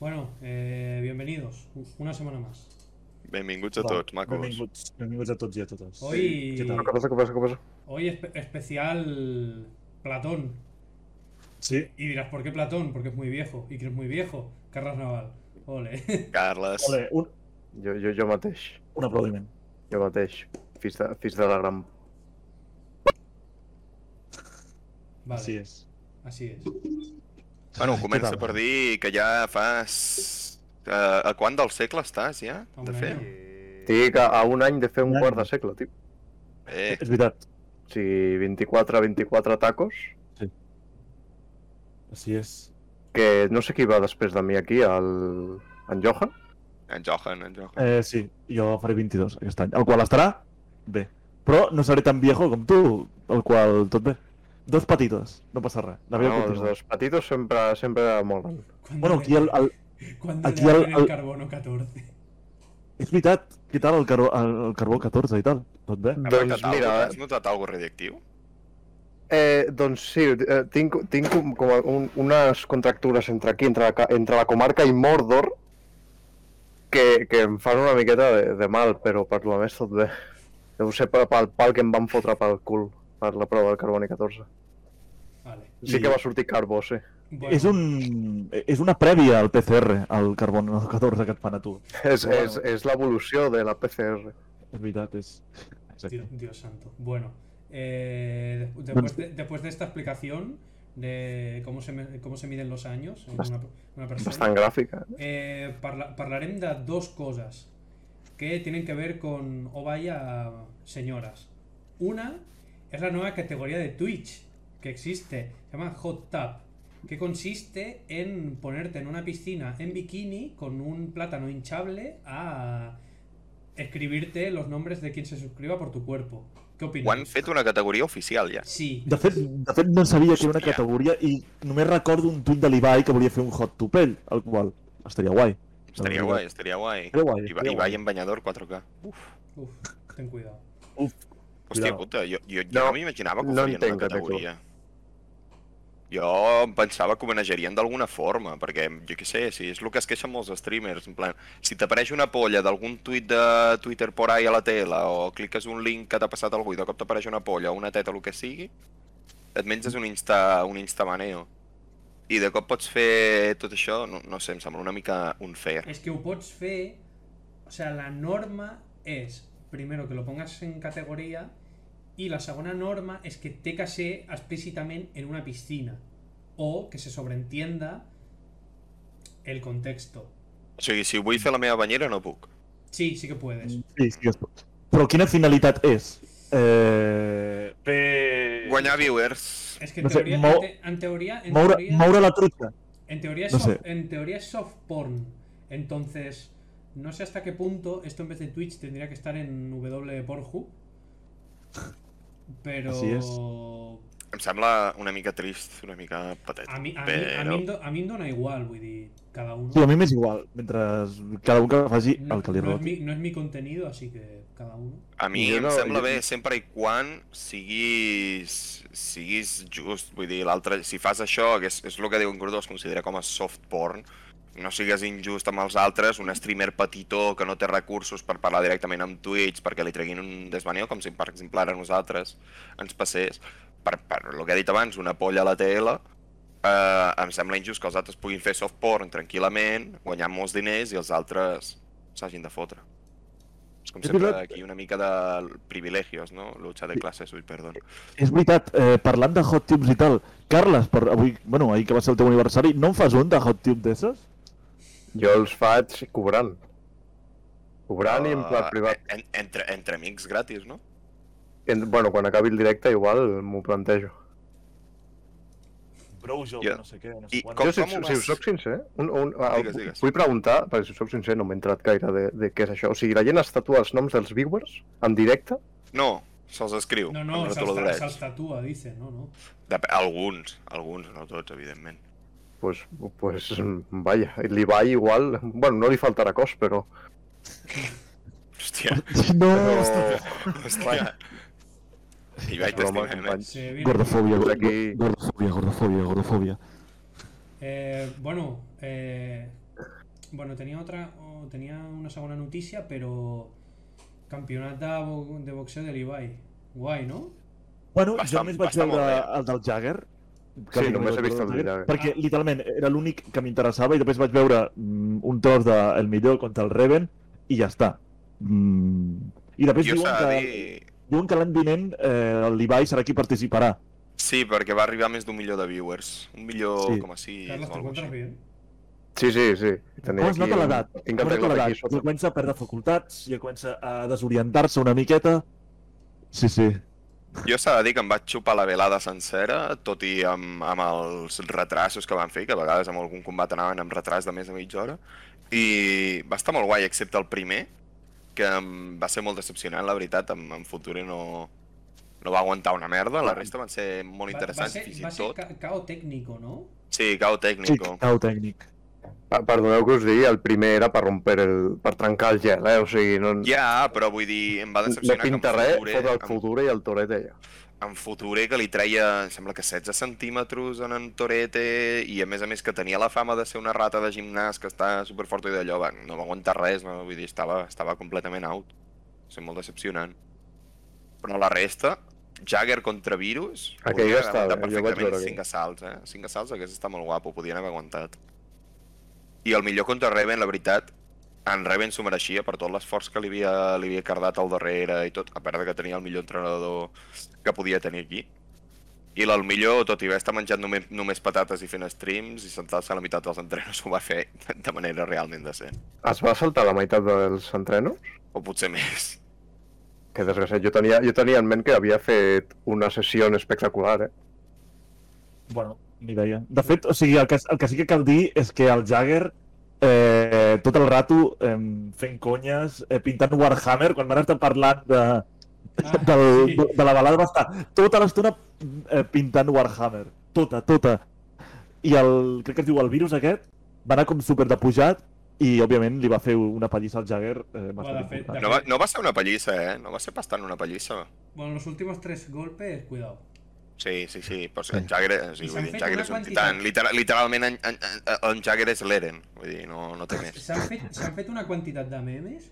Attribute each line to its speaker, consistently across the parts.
Speaker 1: Bueno, eh, bienvenidos. Una semana más.
Speaker 2: Benvinguts a tots, macos.
Speaker 3: Benvinguts, benvinguts a tots i a totes.
Speaker 1: Oi.
Speaker 3: Què tal?
Speaker 4: ¿Qué pasa? ¿Qué pasa? ¿Qué pasa?
Speaker 1: Hoy espe- especial Platón.
Speaker 3: Sí,
Speaker 1: Y dirás, ¿por qué Platón? Porque es muy viejo. ¿Y quién es muy viejo? Carras Naval. Ole.
Speaker 2: Carles,
Speaker 3: Ole, un,
Speaker 4: Jo, jo, jo mateix.
Speaker 3: un aplaudiment.
Speaker 4: Jo mateix. Fills de, fills de la gran...
Speaker 1: Vale,
Speaker 3: Així és.
Speaker 1: así es.
Speaker 2: bueno,
Speaker 3: Ai,
Speaker 2: comença
Speaker 3: què tal?
Speaker 2: per dir que ja fas... eh, a quant del segle estàs, ja,
Speaker 1: A
Speaker 2: de
Speaker 1: un
Speaker 2: fer?
Speaker 1: any.
Speaker 4: Estic a, a un any de fer un
Speaker 3: Un any.
Speaker 4: quart de segle, tio.
Speaker 2: Bé,
Speaker 3: És veritat.
Speaker 4: O sigui, 24, 24 tacos,
Speaker 3: Així és.
Speaker 4: que no sé qui va després de mi aquí, el... en Johan.
Speaker 2: en Johan, en Johan.
Speaker 3: Eh, sí, jo faré 22 aquest any, el qual estarà bé. Però no seré tan viejo com tu, el qual tot bé. Dos petites, no passa res. La vida
Speaker 4: no, els
Speaker 3: continua.
Speaker 4: dos patitos sempre, sempre molen.
Speaker 1: Cuando
Speaker 3: Bueno,
Speaker 1: le-
Speaker 3: aquí el, el...
Speaker 1: cuando
Speaker 3: aquí
Speaker 1: le
Speaker 3: al-
Speaker 1: abren el
Speaker 3: al-
Speaker 1: carbono 14.
Speaker 3: És veritat, què tal el, carbó, el, el carbó 14 i tal? Tot bé?
Speaker 2: Has
Speaker 4: Doncs
Speaker 2: notat algo-
Speaker 4: mira,
Speaker 2: Has notat alguna cosa radioactiu?
Speaker 4: eh, doncs sí, eh, tinc, tinc com, com a un, unes contractures entre aquí, entre la, ca- entre la comarca i Mordor, que, que em fan una miqueta de, de mal, però per lo més tot bé. Deu ser pel, pel pal que em van fotre pel cul per la prova del carboni 14.
Speaker 1: Vale.
Speaker 4: Sí que va sortir carbó, sí.
Speaker 1: Bueno,
Speaker 3: És, un, és una prèvia al PCR, al carbon 14 que et fan a tu.
Speaker 4: És,
Speaker 3: Bueno.
Speaker 4: és, és l'evolució de la PCR.
Speaker 3: És veritat, és... Exacte.
Speaker 1: Dios, Dios santo. Bueno, eh, des- después, de, después de esta explicación de cómo se, me- cómo se miden los años en una, una persona.
Speaker 4: Bastant gràfica.
Speaker 1: Eh, parla- parlarem de dos cosas que tienen que ver con, oh vaya, señoras. Una es la nueva categoría de Twitch que existe, se llama Hot Tub, que consiste en ponerte en una piscina en bikini con un plátano hinchable a escribirte los nombres de quien se suscriba por tu cuerpo. ¿Qué
Speaker 2: Ho han
Speaker 1: opinas?
Speaker 2: fet una categoria oficial, ja.
Speaker 1: Sí,
Speaker 3: De fet, de fet no sabia que hi havia una
Speaker 2: Hòstia.
Speaker 3: categoria i només recordo un tuit de l'Ibai que volia fer un hot to pell, el qual estaria guai.
Speaker 2: Estaria guai, estaria guai.
Speaker 3: Doncs Estaria guai,
Speaker 2: I, va,
Speaker 3: estaria
Speaker 2: i
Speaker 3: guai.
Speaker 2: vai en banyador 4K.
Speaker 1: Uf, ten cuidado.
Speaker 2: Hòstia
Speaker 3: Cuidado.
Speaker 2: puta, jo, jo, jo no,
Speaker 4: No,
Speaker 2: m'imaginava que ho
Speaker 4: no
Speaker 2: farien una
Speaker 4: entenc, Cateco.
Speaker 2: categoria. Jo em pensava que homenagerien d'alguna forma, perquè, jo què sé, si és el que es queixen molts streamers, en plan, si t'apareix una polla d'algun tuit de Twitter por ahí a la tela, o cliques un link que t'ha passat algú i de cop t'apareix una polla, una teta, el que sigui, et menges un insta, un instamaneo. I de cop pots fer tot això, no, no sé, em sembla una mica unfair.
Speaker 1: Es que ho pots fer- O sea, la norma es, primero, que lo pongas en categoría y la segunda norma es que te casé explícitamente en una piscina o que se sobreentienda el contexto.
Speaker 2: O sigui, si vull fer la meva banyera no puc.
Speaker 1: Sí, sí que puedes.
Speaker 3: Sí, sí que es pot. Però quina finalitat és? Eh... Fer...
Speaker 2: Guanyar viewers.
Speaker 1: Es que en
Speaker 3: No sé,
Speaker 1: teoría, en
Speaker 3: mou-
Speaker 1: te- en teoría, en
Speaker 3: Moure,
Speaker 1: teoría-
Speaker 3: moure la truita.
Speaker 1: En teoría, es
Speaker 3: No
Speaker 1: soft,
Speaker 3: sé.
Speaker 1: en teoría es soft porn. Entonces, no sé hasta qué punto esto en vez de Twitch tendría que estar en W Pornhub. Pero
Speaker 3: Así es.
Speaker 2: Em sembla una mica trist, una mica patet.
Speaker 1: a mí, a, mí, a, mí,
Speaker 2: Però...
Speaker 1: em do- a mí em dona igual, vull dir, cada uno.
Speaker 3: Sí, a mi m'és igual, mentre cada un que faci
Speaker 1: no,
Speaker 3: el que li
Speaker 1: no es
Speaker 3: roti.
Speaker 1: Mm, mi, no es mi contenido, así que cada uno.
Speaker 2: A mi
Speaker 4: Jo
Speaker 2: em
Speaker 4: no-
Speaker 2: sembla
Speaker 4: jo-
Speaker 2: bé sempre i quan siguis, siguis just, vull dir, l'altre, si fas això, que és, és el que diuen Crudó, es considera com a soft porn, no sigues injust amb els altres, un streamer petitó que no té recursos per parlar directament amb Twitch perquè li treguin un desvaneu, com si per exemple ara a nosaltres ens passés, per, per el que he dit abans, una polla a la tele, eh, em sembla injust que els altres puguin fer soft porn tranquil·lament, guanyar molts diners i els altres s'hagin de fotre. És com
Speaker 3: És
Speaker 2: sempre
Speaker 3: veritat.
Speaker 2: aquí una mica de privilegios, no? Lucha de classes, ui, perdó.
Speaker 3: És veritat, eh, parlant de hot tubes i tal, Carles, per avui, bueno, ahir que va ser el teu aniversari, no en fas un de hot tube d'esses?
Speaker 4: Jo els faig cobrant. Cobrant i en pla
Speaker 2: Ah,
Speaker 4: privat.
Speaker 2: en, entre, entre amics gratis, no?
Speaker 4: En, bueno, quan acabi el directe igual m'ho plantejo.
Speaker 3: Bro, jo,
Speaker 2: Jo-
Speaker 3: sé què, no
Speaker 2: sé I quant. com-
Speaker 4: jo, si,
Speaker 2: com ho
Speaker 4: si
Speaker 2: vas-
Speaker 4: us soc sincer, un, un, uh,
Speaker 2: Digues, digues.
Speaker 4: vull preguntar, perquè si us soc sincer no m'he entrat gaire de, de què és això. O sigui, la gent es tatua els noms dels viewers en directe?
Speaker 2: No, se'ls escriu.
Speaker 1: No, no,
Speaker 2: amb
Speaker 1: se'ls ta-
Speaker 2: retoladorets.
Speaker 1: se'ls tatua, dicen, ah, no, no.
Speaker 2: Dep- Alguns, alguns, no tots, evidentment.
Speaker 4: Pues, pues, mm, vaja, li va igual... Bueno, no li faltarà cos, però...
Speaker 2: Hòstia,
Speaker 3: No,
Speaker 4: però...
Speaker 2: hòstia. I vaig
Speaker 4: Oh. Broma,
Speaker 2: t'estimem, eh?
Speaker 4: companys.
Speaker 1: Se viene-
Speaker 3: Gordofòbia,
Speaker 4: Doncs
Speaker 3: aquí...
Speaker 4: aquí-
Speaker 3: gordofòbia, gordofòbia, gordofòbia.
Speaker 1: Eh, bueno, eh, Bueno, tenia otra, oh, tenia una segona notícia, però campionat de, bo- de boxeo de l'Ibai. Guai, no?
Speaker 3: Bueno,
Speaker 2: Va
Speaker 3: jo
Speaker 2: estar-
Speaker 3: només
Speaker 2: va
Speaker 3: vaig
Speaker 2: estar
Speaker 3: veure
Speaker 2: molt
Speaker 3: el del Jagger.
Speaker 4: Sí, només he vist el del Jagger.
Speaker 3: Perquè literalment era l'únic que m'interessava i després vaig veure mm, un tros de El Millor contra el Reven i ja està. Mm. I després
Speaker 2: Jo
Speaker 3: diuen
Speaker 2: s'ha
Speaker 3: que,
Speaker 2: de dir...
Speaker 3: diuen que l'any vinent eh, el Levi serà qui participarà.
Speaker 2: Sí, perquè va arribar a més d'un milió de viewers. Un milió
Speaker 3: Sí.
Speaker 2: com a sis
Speaker 1: Carlos, te
Speaker 2: o alguna cosa
Speaker 1: encuentras
Speaker 2: així.
Speaker 1: bien?
Speaker 4: Sí, sí, sí. Tenia
Speaker 3: Com es nota
Speaker 4: un-
Speaker 3: l'edat?
Speaker 4: Tinc
Speaker 3: Com
Speaker 4: el
Speaker 3: es nota
Speaker 4: teclat
Speaker 3: l'edat?
Speaker 4: aquí
Speaker 3: Ja
Speaker 4: sota.
Speaker 3: comença a perdre facultats, ja comença a desorientar-se una miqueta. Sí, sí.
Speaker 2: Jo s'ha de dir que em vaig xupar la velada sencera, tot i amb, amb els retrasos que van fer, que a vegades amb algun combat anaven amb retras de més de mitja hora, i va estar molt guai, excepte el primer, que em va ser molt decepcionant, la veritat, en, en Future no, no va aguantar una merda, la resta van ser molt
Speaker 1: Va, va
Speaker 2: interessants,
Speaker 1: ser,
Speaker 2: fins
Speaker 1: va
Speaker 2: i
Speaker 1: ser
Speaker 2: tot.
Speaker 1: ca cao técnico, no?
Speaker 2: Sí, cau
Speaker 3: Sí,
Speaker 2: tècnico.
Speaker 3: cau tècnic.
Speaker 4: Pa- Ah, Perdoneu que us digui, el primer era per romper el... per trencar el gel, eh? O sigui, no...
Speaker 2: Ja, però vull dir, em va
Speaker 4: No
Speaker 2: decepcionar
Speaker 4: pinta
Speaker 2: que en
Speaker 4: res,
Speaker 2: Future,
Speaker 4: fot el
Speaker 2: en-
Speaker 4: Future i el Toret eh? allà.
Speaker 2: en Future que li treia, em sembla que 16 centímetres en en Torete i a més a més que tenia la fama de ser una rata de gimnàs que està superforta i d'allò, va, no va aguantar res, no, vull dir, estava, estava completament out. Va ser molt decepcionant. Però la resta, Jagger contra Virus, podien
Speaker 4: Aquell va
Speaker 2: haver
Speaker 4: estar
Speaker 2: aguantat
Speaker 4: bé, jo vaig
Speaker 2: perfectament
Speaker 4: veure aquell.
Speaker 2: 5 assalts, eh? 5 assalts hagués estat molt guapo, podien haver aguantat. I el millor contra Reven, la veritat, en Reven s'ho mereixia per tot l'esforç que li havia, li havia cardat al darrere i tot, a part de que tenia el millor entrenador que podia tenir aquí. I el millor, tot i haver estat menjant només, només patates i fent streams i sentar-se a la meitat dels entrenos, ho va fer de manera realment decent.
Speaker 4: Es va saltar la meitat dels entrenos?
Speaker 2: O potser més.
Speaker 4: Que desgraciat, jo tenia, jo tenia en ment que havia fet una sessió espectacular, eh?
Speaker 3: Bueno, ni idea. De fet, o sigui, el que, el que sí que cal dir és que el Jagger eh, tot el rato eh, fent conyes, eh, pintant Warhammer, quan van estar parlant de,
Speaker 1: Ah,
Speaker 3: del,
Speaker 1: sí.
Speaker 3: de, de la balada va estar tota l'estona eh, pintant Warhammer. Tota, tota. I el, crec que es diu el virus aquest, va anar com super de pujat i, òbviament, li va fer una pallissa al Jagger eh, bastant
Speaker 1: de fet,
Speaker 3: important.
Speaker 2: No va, no va ser una pallissa, eh? No va ser bastant una pallissa.
Speaker 1: Bueno, los últimos tres golpes, cuidado.
Speaker 2: Sí, sí, sí, però és que en Jagger, o
Speaker 1: I
Speaker 2: sigui,
Speaker 1: s'han
Speaker 2: vull dir, en
Speaker 1: fet
Speaker 2: Jagger
Speaker 1: una
Speaker 2: és un
Speaker 1: quantitat.
Speaker 2: titan. Literal, literalment, en, en, en, en Jagger és l'Eren. Vull dir, no, no
Speaker 1: Ah,
Speaker 2: té més.
Speaker 1: S'han fet, s'han fet una quantitat de memes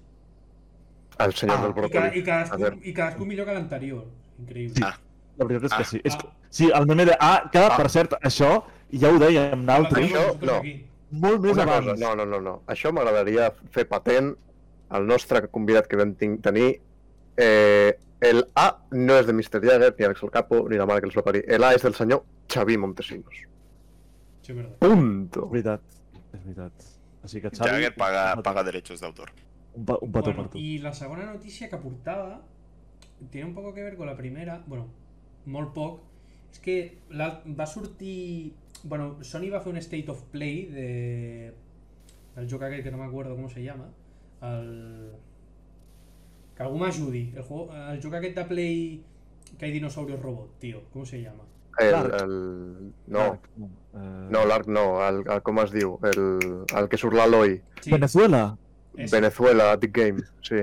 Speaker 4: El senyor
Speaker 3: Ah,
Speaker 4: del
Speaker 1: i, ca,
Speaker 4: bròcoli.
Speaker 1: i, cadascun,
Speaker 4: ver.
Speaker 1: i cadascun millor que l'anterior. Increïble.
Speaker 3: Sí. La veritat és que
Speaker 2: Ah,
Speaker 3: sí. És,
Speaker 1: ah.
Speaker 3: que- sí, el meme de... Ah, que,
Speaker 4: Ah.
Speaker 3: per cert, això ja ho dèiem,
Speaker 1: Lo
Speaker 3: naltros,
Speaker 1: hacemos
Speaker 4: Això,
Speaker 1: nosotros
Speaker 4: no.
Speaker 1: aquí.
Speaker 3: molt més
Speaker 4: Una
Speaker 3: abans.
Speaker 4: cosa, no, no, no, no. Això m'agradaria fer patent al nostre convidat que vam tin- tenir. Eh, el A no és de Mr. Jagger, ni Alex el Capo, ni la mare que els va parir. El A és del senyor Xavi Montesinos.
Speaker 1: Sí, es verdad.
Speaker 4: Punto.
Speaker 3: És veritat, és veritat. Així que Xavi...
Speaker 2: Jagger paga,
Speaker 3: un petó-
Speaker 2: paga derechos d'autor.
Speaker 3: Un, pa, un petó
Speaker 1: Bueno,
Speaker 3: per tu.
Speaker 1: y la segunda noticia que aportaba tiene un poco que ver con la primera, bueno, molt poc, és que la, va sortir... Bueno, Sony va fer un State of Play de... del joc aquell que no m'acordo com se llama, el... Que algú m'ajudi. El, juego, el joc aquest de Play que hay dinosaurios robot, tío. Com se llama?
Speaker 4: El,
Speaker 3: L'Arc.
Speaker 4: el... No,
Speaker 3: L'arc, no. Eh,
Speaker 4: no, l'arc no. El, el, com es diu? El, el que surt l'Eloi.
Speaker 1: Sí,
Speaker 3: Venezuela?
Speaker 1: ese.
Speaker 4: Venezuela, Big Game, sí.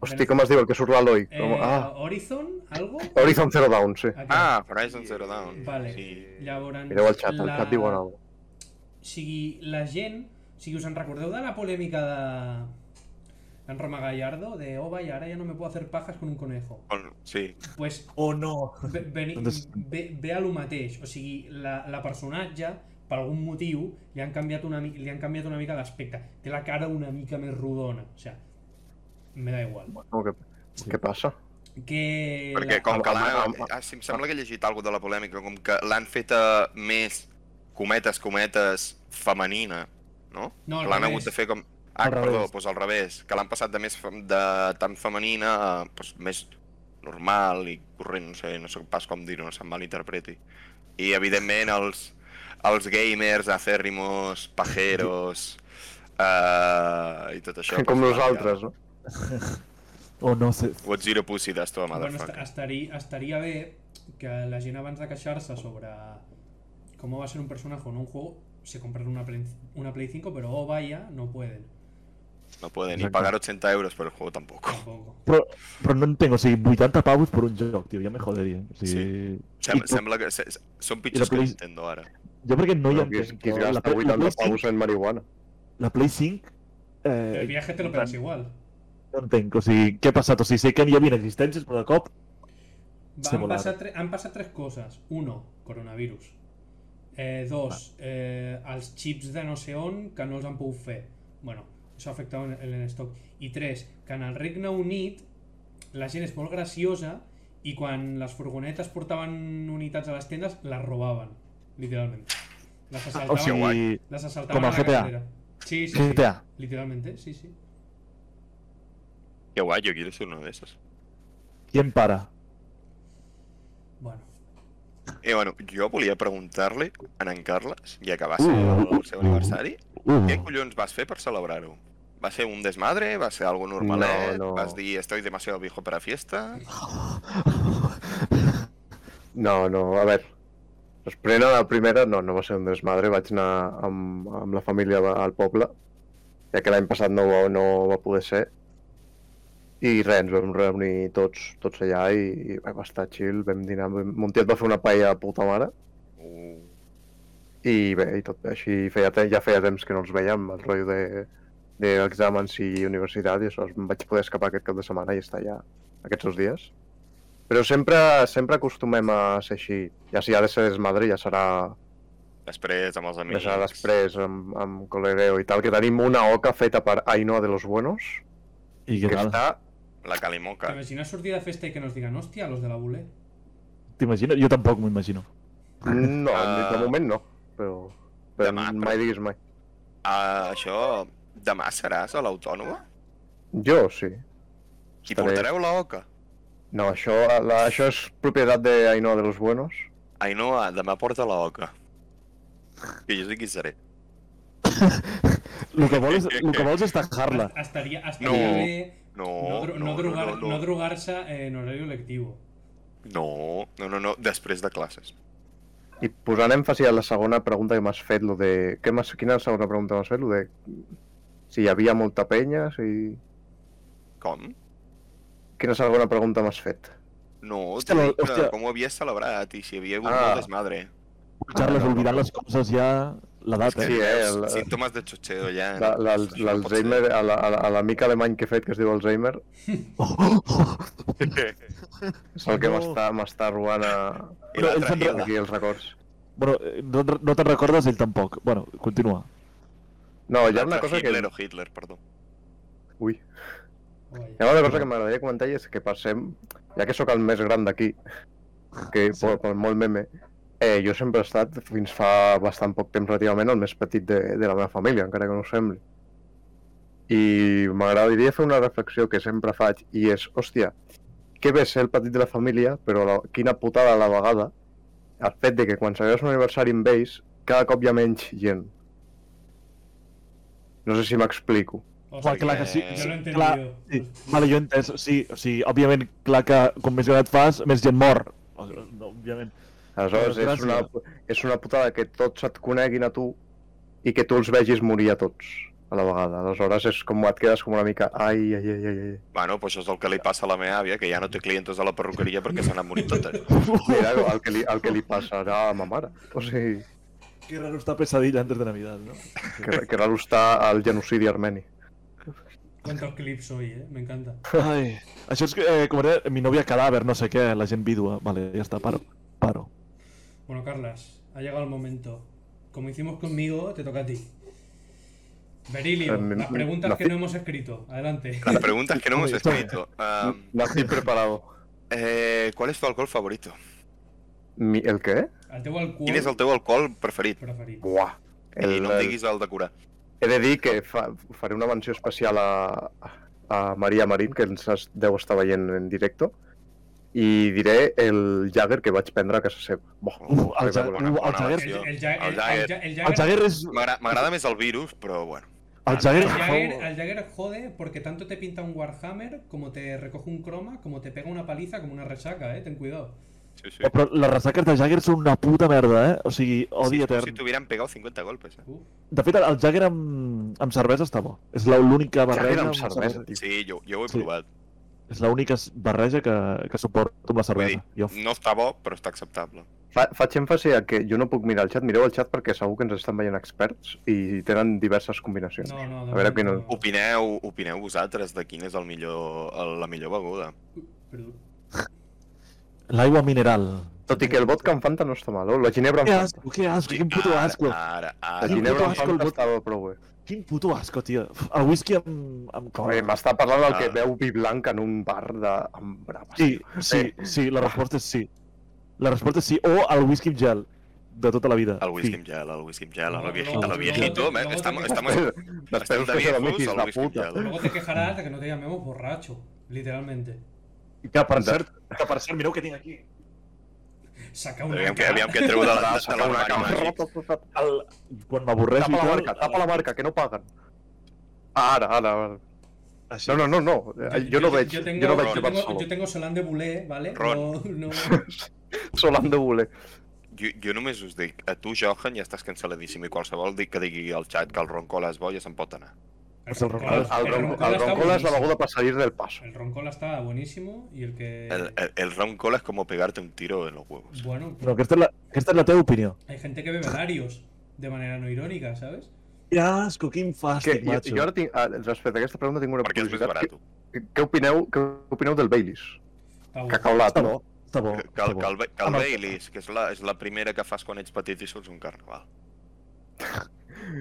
Speaker 4: Hosti, com es diu el que surt l'Eloi?
Speaker 1: Eh,
Speaker 4: Com... Ah,
Speaker 1: Horizon, algo? Ah,
Speaker 4: Horizon Zero Dawn, sí.
Speaker 1: Aquest.
Speaker 2: Ah, Horizon Zero Dawn.
Speaker 1: Vale.
Speaker 2: Sí.
Speaker 1: Llavors,
Speaker 4: Mireu el xat, el xat diuen alguna cosa.
Speaker 1: O sigui, la gent... O sigui, us en recordeu de la polèmica de... d'en Roma Gallardo? De, oh, vaya, ara ja no me puedo hacer pajas con un conejo.
Speaker 2: Con- Sí,
Speaker 1: Pues
Speaker 3: O no?
Speaker 1: ve, veni,
Speaker 3: Doncs-
Speaker 1: ve, ve a lo mateix. O sigui, la, la personatge, per algun motiu, li han canviat una, mi- li han canviat una mica l'aspecte. Té la cara una mica més rodona. O sigui, me da igual.
Speaker 4: Com que... Què passa?
Speaker 1: Que...
Speaker 2: perquè
Speaker 1: la-
Speaker 2: com que
Speaker 4: Amb-
Speaker 2: l'han...
Speaker 4: amb- amb-
Speaker 2: Ah, sí, em sembla que he llegit alguna de la polèmica, com que l'han feta més cometes, cometes, femenina, no?
Speaker 1: No, al
Speaker 2: l'han
Speaker 1: revés.
Speaker 2: hagut de fer com... Ah,
Speaker 3: Al
Speaker 2: perdó,
Speaker 3: revés.
Speaker 2: doncs al revés, que l'han passat de més fem- de tan femenina a doncs, més normal i corrent, no sé, no sé pas com dir-ho, no se'm malinterpreti. I evidentment els, els gamers acérrimos, pajeros eh, i tot això.
Speaker 4: Com
Speaker 2: doncs,
Speaker 4: nosaltres, no?
Speaker 3: O no sé.
Speaker 2: What zero pussy does to a
Speaker 1: Bueno,
Speaker 2: motherfucker.
Speaker 1: est estaria, estaria bé que la gent abans de queixar-se sobre cómo va a ser un personaje en un juego, se compraron una Play, una Play 5, pero oh vaya, no pueden.
Speaker 2: No puede ni
Speaker 3: Exacto.
Speaker 2: pagar 80 euros por el juego tampoco.
Speaker 1: Tampoco.
Speaker 3: Però, però no entenc, o sigui, 80 pavos per un joc, tio, ja me joderia. O sigui,
Speaker 2: Sem-
Speaker 3: I tu-
Speaker 2: sembla que se- se- són pitjors que
Speaker 3: Play-
Speaker 2: Nintendo ara.
Speaker 3: Jo perquè no hi
Speaker 4: Però qui,
Speaker 3: entenc.
Speaker 4: qui es
Speaker 3: però
Speaker 4: gasta
Speaker 3: Play-
Speaker 4: 80
Speaker 3: Play
Speaker 4: paus en marihuana.
Speaker 3: la Play 5... Eh,
Speaker 1: El viaje te lo
Speaker 3: tant,
Speaker 1: pegas igual.
Speaker 3: No entenc, o sigui, què ha passat? O sigui, sé que hi havia existències, però de cop...
Speaker 1: Va,
Speaker 3: Se
Speaker 1: han,
Speaker 3: volaron.
Speaker 1: pasado tre- han pasado tres cosas. Uno, coronavirus. Eh, dos, eh, els chips de no sé on que no els han pogut fer. Bueno, això ha afectat en, en l'estoc. I tres, que en el Regne Unit la gent és molt graciosa i quan les furgonetes portaven unitats a les tendes, les robaven, literalment. Les
Speaker 3: O
Speaker 1: assaltaven,
Speaker 3: sigui,
Speaker 1: les assaltaven
Speaker 3: Ah, com el
Speaker 1: a la
Speaker 3: GTA.
Speaker 1: carretera. Sí, sí, sí.
Speaker 3: GTA.
Speaker 1: Literalmente, sí, sí.
Speaker 2: Qué guay, yo quiero ser uno de esos.
Speaker 3: Qui em para?
Speaker 1: Bueno,
Speaker 2: I Eh, bueno, jo volia preguntar-li a en Carles, ja que va ser
Speaker 3: Uh.
Speaker 2: el seu aniversari,
Speaker 3: Uh,
Speaker 2: què collons vas fer per celebrar-ho? Va ser un desmadre? Va ser algo normalet?
Speaker 4: No, no.
Speaker 2: Vas dir, estoy demasiado viejo para fiesta?
Speaker 4: No, no, a veure. Després de la primera, no, no va ser un desmadre, vaig anar amb, amb la família va- al poble, ja que l'any passat no, va- no va poder ser. I res, ens vam reunir tots, tots allà i, i va estar chill, vam dinar, vam... Montiel va fer una paella de puta mare
Speaker 2: Uh,
Speaker 4: i bé, i tot bé, així feia temps, ja feia temps que no els veiem, el rotllo de d'exàmens i universitat i això, em vaig poder escapar aquest cap de setmana i estar allà aquests dos dies. Però sempre, sempre acostumem a ser així, ja si ha de ser desmadre ja serà,
Speaker 2: després, amb els
Speaker 4: ja
Speaker 2: amics...
Speaker 4: serà després amb, amb colegueo i tal, que tenim una oca feta per Ainhoa de los Buenos,
Speaker 3: I
Speaker 4: que
Speaker 3: què tal?
Speaker 4: està...
Speaker 2: La calimoca.
Speaker 1: t'imagines sortir de festa i que nos digan, hostia, los de la bule.
Speaker 3: T'imagino? Jo tampoc m'ho imagino.
Speaker 4: No,
Speaker 2: Ah.
Speaker 4: de moment no, però, però
Speaker 2: Demà, però-
Speaker 4: mai diguis mai.
Speaker 2: Ah, això... Demà seràs a l'autònoma?
Speaker 4: Jo sí.
Speaker 2: Qui
Speaker 4: Estaré.
Speaker 2: portareu la oca?
Speaker 4: No, això, la, això és propietat d'Ainhoa de los Buenos.
Speaker 2: Ainhoa, ah, demà porta la oca. Que jo sí que hi seré.
Speaker 3: El que vols, el que vols és tajar-la.
Speaker 1: Estaria, estaria
Speaker 2: No.
Speaker 1: bé No,
Speaker 2: No,
Speaker 1: dro- no, drogar-
Speaker 2: no,
Speaker 1: no
Speaker 2: no,
Speaker 1: drogarse eh, en horario lectivo.
Speaker 2: no, no, no, no, després de classes.
Speaker 4: I posant èmfasi a la segona pregunta que m'has fet, lo de... Què m'has... Quina segona pregunta m'has fet? Lo de... Si hi havia molta penya, si...
Speaker 2: Com?
Speaker 4: Quina segona pregunta m'has fet?
Speaker 2: No,
Speaker 3: Hòstia,
Speaker 2: t'he dit
Speaker 3: la-
Speaker 2: que
Speaker 3: hòstia.
Speaker 2: com ho havies celebrat i si hi havia hagut
Speaker 4: Ah.
Speaker 2: molt desmadre.
Speaker 3: Carles, oblidant les coses ja... L'edat, eh?
Speaker 4: Sí, eh,
Speaker 2: Veus,
Speaker 4: la-
Speaker 2: Símptomes de xotxeo ja.
Speaker 4: La- la-
Speaker 2: Eh, Això no pot
Speaker 4: L'Alzheimer, a la- a la- a l'amic alemany que he fet, que es diu Alzheimer,
Speaker 3: Oh, oh, oh.
Speaker 2: ser.
Speaker 4: és el que
Speaker 3: No.
Speaker 4: m'està m'està robant a...
Speaker 2: I
Speaker 3: Però ells
Speaker 2: l'altre,
Speaker 3: han
Speaker 2: i la-
Speaker 4: aquí els records.
Speaker 3: Bueno, eh, no, no te'n recordes ell tampoc. Bueno, continua.
Speaker 4: No, hi ha
Speaker 2: l'altre
Speaker 4: una cosa que...
Speaker 2: Hitler o Hitler, perdó.
Speaker 4: Ui.
Speaker 1: O vaya.
Speaker 4: Hi ha una cosa que m'agradaria comentar i és que passem, ja que sóc el més gran d'aquí, que
Speaker 3: Sí.
Speaker 4: per, per molt meme, eh, jo sempre he estat, fins fa bastant poc temps relativament, el més petit de, de la meva família, encara que no ho sembli. I m'agradaria fer una reflexió que sempre faig, i és, hòstia, que bé ser el petit de la família, però la, quina putada a la vegada el fet de que quan celebres un aniversari amb ells, cada cop hi ha menys gent. No sé si m'explico.
Speaker 1: O sea,
Speaker 3: Clar, clar que sí.
Speaker 2: Eh,
Speaker 1: Yo lo he
Speaker 3: sí,
Speaker 1: entendido.
Speaker 3: clar, sí. Vale, jo he entès. Sí, o sigui, òbviament, clar que com més gran et fas, més gent mor. O sigui, no, òbviament.
Speaker 4: Aleshores,
Speaker 3: Però
Speaker 4: és una, és una putada que tots et coneguin a tu i que tu els vegis morir a tots a la vegada. Aleshores, és com et quedes com una mica... Ai, ai, ai, ai, ai.
Speaker 2: Bueno, pues això és el que li passa a la meva àvia, que ja no té clientes a la perruqueria perquè s'han anat morint totes.
Speaker 4: Mira el que, li, el que li passarà a ma mare. O sigui,
Speaker 3: Que raro està pesadilla antes de Navidad, no?
Speaker 4: que, que raro està el genocidi armeni.
Speaker 1: ¿Cuántos clips hoy, eh? Me encanta.
Speaker 3: Ai, això és que, eh, com era, mi novia cadàver, no sé què, la gent vídua. Vale, ja està, paro. Paro.
Speaker 1: Bueno, Carlas, ha llegado el momento. Como hicimos conmigo, te toca a ti. Berilio,
Speaker 4: Eh, me-
Speaker 1: las preguntas
Speaker 4: la-
Speaker 1: que no hemos escrito. Adelante.
Speaker 2: Las preguntas que no hemos
Speaker 3: Hombre, esto-
Speaker 2: escrito. Ah,
Speaker 4: Nací preparado.
Speaker 2: eh, ¿Cuál es tu alcohol favorito?
Speaker 4: Mi, el què?
Speaker 1: Al teu alcohol
Speaker 2: Quin és el teu alcohol preferit?
Speaker 1: preferit.
Speaker 4: Buah.
Speaker 2: I no
Speaker 4: el-
Speaker 2: em diguis el de curar.
Speaker 4: He de dir que fa, faré una menció especial a, a Maria Marín, que ens es- deu estar veient en directe, i diré el Jagger que vaig prendre a casa seva. Boh,
Speaker 3: Uf, uh, el
Speaker 4: que
Speaker 3: Ja-
Speaker 4: bona-
Speaker 3: uf, el Jagger-
Speaker 1: El,
Speaker 2: elecció.
Speaker 1: el, Ja- el-
Speaker 2: El
Speaker 1: el
Speaker 2: Jagger.
Speaker 1: Ja- el
Speaker 3: El
Speaker 1: Jagger.
Speaker 3: Jagger és...
Speaker 2: M'agra- M'agrada més el virus, però bueno.
Speaker 3: El Jagger
Speaker 1: el Jagger-
Speaker 3: és...
Speaker 1: el Jagger jode porque tanto te pinta un Warhammer, como te recoge un croma, como te pega una paliza, como una resaca, eh. Ten cuidado.
Speaker 2: Sí, sí.
Speaker 3: Però les ressaques de Jagger són una puta merda, eh? O sigui, odi
Speaker 2: Si-
Speaker 3: etern.
Speaker 2: Si t'hubieran pegado 50 golpes. eh.
Speaker 1: Uf.
Speaker 3: De fet, el Jagger amb, amb cervesa està bo. És la- l'única
Speaker 4: Jagger
Speaker 3: barreja
Speaker 4: amb cervesa, tio.
Speaker 2: Sí, jo, jo ho he
Speaker 3: Sí.
Speaker 2: provat.
Speaker 3: És l'única s- barreja que, que suporto amb la
Speaker 2: Vull
Speaker 3: cervesa.
Speaker 2: dir,
Speaker 3: Jo,
Speaker 2: no està bo, però està acceptable.
Speaker 4: Fa, faig èmfasi a que jo no puc mirar el xat. Mireu el xat perquè segur que ens estan veient experts i tenen diverses combinacions.
Speaker 1: No, no, de
Speaker 4: A veure
Speaker 1: moment
Speaker 4: qui no-
Speaker 2: Opineu, opineu vosaltres de quina és el millor, el, la millor beguda.
Speaker 1: Perdó.
Speaker 3: L'aigua mineral.
Speaker 4: Tot i que el vodka en Fanta no està mal, o la ginebra en
Speaker 3: Que
Speaker 4: Fanta.
Speaker 3: asco, que asco, quin puto
Speaker 2: Ara,
Speaker 3: asco.
Speaker 2: Ara,
Speaker 4: La
Speaker 2: ara.
Speaker 3: Quin
Speaker 4: ginebra
Speaker 3: puto
Speaker 4: en
Speaker 3: asco el
Speaker 4: Fanta
Speaker 3: vodka.
Speaker 4: estava prou bé.
Speaker 3: Quin puto asco, tio. El whisky amb... amb cola.
Speaker 4: Bé, M'està parlant del que
Speaker 2: Ah.
Speaker 4: veu vi blanc en un bar de... Amb braves.
Speaker 3: Sí, sí, sí, la resposta és sí. La resposta és sí. O el whisky amb gel de tota la vida.
Speaker 2: El whisky
Speaker 3: Sí.
Speaker 2: amb gel, el whisky amb gel,
Speaker 1: No,
Speaker 2: el viejito,
Speaker 1: no,
Speaker 2: el
Speaker 1: no,
Speaker 2: viejito,
Speaker 1: no,
Speaker 2: eh?
Speaker 1: no,
Speaker 2: Estamos,
Speaker 1: no,
Speaker 2: estamos,
Speaker 4: Després
Speaker 2: estamos
Speaker 4: us
Speaker 2: de
Speaker 4: feu
Speaker 2: viejos
Speaker 4: amiguis
Speaker 2: al
Speaker 4: de
Speaker 2: whisky amb
Speaker 4: puta.
Speaker 2: gel.
Speaker 1: Luego te quejarás de que no te llamemos borracho, literalmente.
Speaker 3: Que per cert, que per cert, mireu què tinc aquí.
Speaker 1: Saca una.
Speaker 2: Aviam que,
Speaker 1: cara.
Speaker 2: aviam que treu de la, de
Speaker 4: Saca una
Speaker 2: l'armari
Speaker 4: cama.
Speaker 2: màgic.
Speaker 3: El... Quan m'avorreixo
Speaker 4: Tapa
Speaker 3: i
Speaker 4: la
Speaker 3: tal,
Speaker 4: marca, tapa la marca, que no paguen. Ah, Ara, ara, ara.
Speaker 3: Així.
Speaker 4: No, no, no, no. eh, Jo no veig,
Speaker 1: Yo tengo,
Speaker 4: jo no veig
Speaker 2: jo
Speaker 4: jugar
Speaker 1: tengo, yo
Speaker 4: solo.
Speaker 1: tengo Solán de Bulé, ¿vale?
Speaker 2: Ron.
Speaker 1: No, no.
Speaker 4: Solant de voler.
Speaker 2: Jo, jo només us dic, a tu, Johan, ja estàs canceladíssim i qualsevol dic que digui al xat que el roncola és bo ja se'n pot anar.
Speaker 1: El
Speaker 3: Pues el
Speaker 1: Roncola-
Speaker 3: Roncola-
Speaker 1: el
Speaker 4: El, ron,
Speaker 1: Roncola
Speaker 4: el
Speaker 1: está
Speaker 4: roncola és la
Speaker 1: buenísimo.
Speaker 4: beguda per salir del paso.
Speaker 1: El Roncola está buenísimo y el que.
Speaker 2: El, el, el roncola és com pegarte un tiro en los huevos.
Speaker 1: Bueno,
Speaker 3: Però aquesta és, la, aquesta és la teva opinió.
Speaker 1: hay gente que bebe varios de manera no irónica, ¿sabes?
Speaker 3: Que asco, quin
Speaker 4: Que,
Speaker 3: fàstic,
Speaker 4: jo,
Speaker 3: macho.
Speaker 4: jo ara tinc, ah, respecte a aquesta pregunta tinc una
Speaker 2: Perquè és més barat.
Speaker 4: Què, què, opineu, què opineu del Baileys?
Speaker 1: Está bueno.
Speaker 4: Cacaulat,
Speaker 3: Està
Speaker 4: no?
Speaker 3: bo, està bo.
Speaker 2: Que, que,
Speaker 3: està
Speaker 2: el-
Speaker 3: bo.
Speaker 2: que, el, Ba- que el
Speaker 3: Amb el-
Speaker 2: Baileys, que és la, és la primera que fas quan ets petit i surts un carnaval.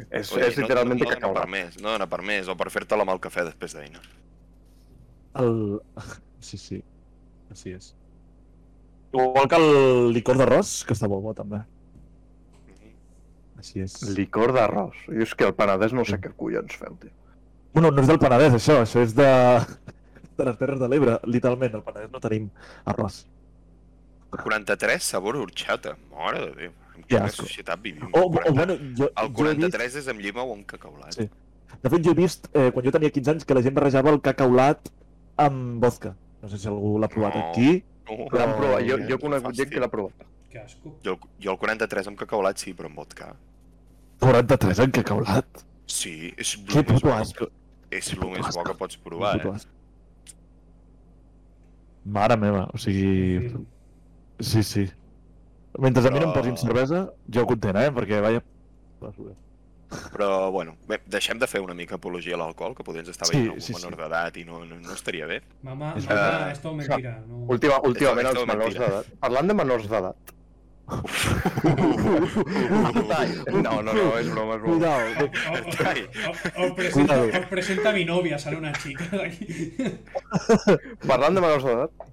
Speaker 4: És,
Speaker 2: Vull dir,
Speaker 4: és literalment
Speaker 2: no, no, no dona per
Speaker 4: cacaulat.
Speaker 2: més, no dona per més, o per fer-te-la amb el cafè després d'eina.
Speaker 3: El... Sí, sí. Així és. Igual que el licor d'arròs, que està molt bo, també. Així és.
Speaker 4: Licor d'arròs. Jo és que el Penedès no sé què collons feu, tio.
Speaker 3: Bueno, no és del Penedès, això. Això és de... de les Terres de l'Ebre, literalment. Al Penedès no tenim arròs.
Speaker 2: 43 sabor horchata, mare de Déu. En
Speaker 3: Que
Speaker 2: quina
Speaker 3: asco.
Speaker 2: societat vivim?
Speaker 3: O, o,
Speaker 2: 40
Speaker 3: bueno, jo,
Speaker 2: el
Speaker 3: jo he vist...
Speaker 2: 43 és amb llima o amb cacaulat.
Speaker 3: Sí. De fet, jo he vist, eh, quan jo tenia 15 anys, que la gent barrejava el cacaulat amb vodka. No sé si algú l'ha provat
Speaker 2: No.
Speaker 3: aquí.
Speaker 2: No,
Speaker 4: L'han provat, jo, jo
Speaker 2: que
Speaker 4: conec gent
Speaker 2: fàstic.
Speaker 4: que l'ha provat.
Speaker 1: Qué asco.
Speaker 2: Jo, jo el 43 amb cacaulat sí, però amb vodka.
Speaker 3: 43 en cacaulat?
Speaker 2: Sí, és el
Speaker 3: Que
Speaker 2: més
Speaker 3: puto
Speaker 2: bo-
Speaker 3: asco.
Speaker 2: És
Speaker 3: Que
Speaker 2: el
Speaker 3: puto
Speaker 2: més bo
Speaker 3: asco.
Speaker 2: que pots provar,
Speaker 3: Puto
Speaker 2: eh?
Speaker 3: asco. Mare meva, o sigui...
Speaker 1: Sí.
Speaker 3: Sí, sí. Mentre a mi no em
Speaker 2: Però-
Speaker 3: posin cervesa, jo content, eh? Perquè, vaja...
Speaker 2: Però, bueno, bé, deixem de fer una mica apologia a l'alcohol, que podria ens estar
Speaker 3: Sí,
Speaker 2: veient algú
Speaker 3: sí,
Speaker 2: menor
Speaker 3: sí.
Speaker 2: d'edat i no, no, no estaria bé.
Speaker 1: Mamá,
Speaker 3: Es
Speaker 1: mamá,
Speaker 2: verdad.
Speaker 1: es todo mentira. No.
Speaker 4: Última, últimament
Speaker 2: Esto- esto
Speaker 4: els menors
Speaker 2: mentira.
Speaker 4: d'edat. Parlant de menors d'edat. No, no, no, és broma, és broma.
Speaker 3: Cuidao,
Speaker 1: Os-
Speaker 3: bé,
Speaker 1: os- os-
Speaker 2: Ay.
Speaker 1: oh, os- os presenta-
Speaker 3: Cuidado.
Speaker 1: os presenta a mi novia, sale una chica de aquí.
Speaker 4: Parlant de menors d'edat,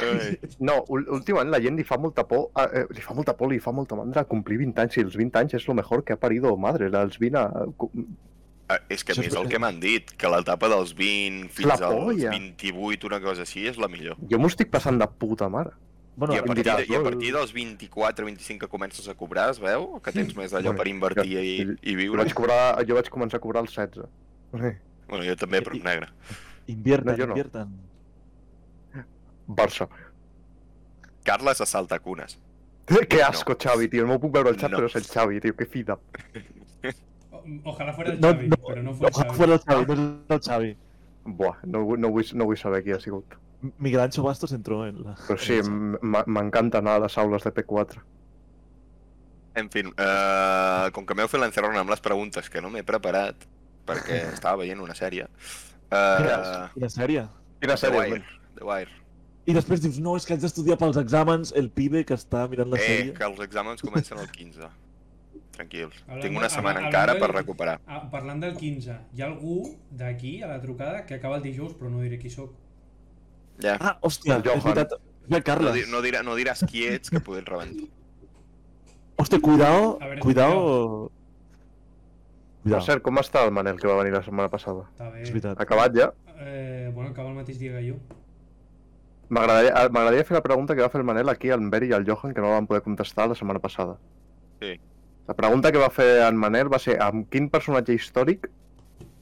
Speaker 2: Ai.
Speaker 4: No, ul- últimament la gent li fa molta por, a- eh, li fa molta por, li fa molta mandra complir 20 anys, i els 20 anys és lo mejor que ha parido madre, els 20 a... cu-
Speaker 2: Ah, És que a
Speaker 3: Això
Speaker 2: mi
Speaker 3: és
Speaker 2: és el
Speaker 3: veritat.
Speaker 2: que m'han dit, que l'etapa dels 20 fins
Speaker 4: La
Speaker 2: als
Speaker 4: polla.
Speaker 2: 28, una cosa així, és la millor.
Speaker 4: Jo m'ho estic passant de puta mare.
Speaker 3: Bueno,
Speaker 2: I a
Speaker 4: em
Speaker 2: partir, de,
Speaker 4: diràs,
Speaker 2: i a
Speaker 4: no?
Speaker 2: partir dels 24, 25 que comences a cobrar, es veu? Que tens més allò
Speaker 4: Bueno,
Speaker 2: per invertir i, i
Speaker 4: Jo
Speaker 2: viure.
Speaker 4: vaig, cobrar, jo vaig començar a cobrar els 16. Eh,
Speaker 2: Bueno, jo també, però en negre.
Speaker 3: invierten,
Speaker 4: No, jo no.
Speaker 3: invierten.
Speaker 4: Barça.
Speaker 2: Carles assalta cunes.
Speaker 4: Que asco, Xavi, tio, no ho puc veure al xat,
Speaker 2: No.
Speaker 4: però és el Xavi, tio, que fida.
Speaker 1: O- Ojalá fuera el
Speaker 3: No,
Speaker 1: Xavi,
Speaker 3: no,
Speaker 1: pero no fue
Speaker 3: No,
Speaker 1: el Xavi.
Speaker 3: fora el Xavi, no és el Xavi.
Speaker 4: Buah, no, vull- no, vull, no vull saber qui ha sigut.
Speaker 3: M- Miguel Ancho Bastos entró en la...
Speaker 4: Però sí,
Speaker 3: en el Xavi.
Speaker 4: m- m- m'encanta anar a les aules de P4.
Speaker 2: En fi, uh, com que m'heu fet l'encerrona amb les preguntes que no m'he preparat, perquè estava veient una sèrie...
Speaker 3: Quina,
Speaker 2: Uh,
Speaker 3: quina sèrie.
Speaker 4: Quina
Speaker 2: The
Speaker 4: sèrie?
Speaker 2: Wire. The Wire.
Speaker 3: I després dius, no, és que haig d'estudiar pels exàmens el pibe que està mirant la
Speaker 2: Eh,
Speaker 3: sèrie.
Speaker 2: que els exàmens comencen el 15. Tranquils.
Speaker 1: Hablando-
Speaker 2: Tinc una setmana
Speaker 1: habla-
Speaker 2: encara
Speaker 1: hablando
Speaker 2: per
Speaker 1: de-
Speaker 2: recuperar.
Speaker 1: Ah, parlant del 15, hi ha algú d'aquí, a la trucada, que acaba el dijous, però no diré qui sóc.
Speaker 2: Ja.
Speaker 3: Ah, hòstia,
Speaker 4: El
Speaker 3: és
Speaker 4: Johan.
Speaker 3: veritat. Ja,
Speaker 2: No,
Speaker 3: Carles.
Speaker 2: di no, dirà, no diràs qui ets, que poder et rebento.
Speaker 3: Hòstia, cuidao,
Speaker 1: A veure,
Speaker 3: cuidao...
Speaker 4: Per
Speaker 3: Cuidao,
Speaker 4: cert, com està el Manel que va venir la setmana passada?
Speaker 1: Està bé.
Speaker 3: és veritat.
Speaker 4: Acabat ja?
Speaker 1: Eh, bueno, acaba el mateix dia que jo.
Speaker 4: M'agradaria ah, m'agradaria fer la pregunta que va fer el Manel aquí, al Beri i al Johan, que no la van poder contestar la setmana passada.
Speaker 2: Sí.
Speaker 4: La pregunta que va fer en Manel va ser amb quin personatge històric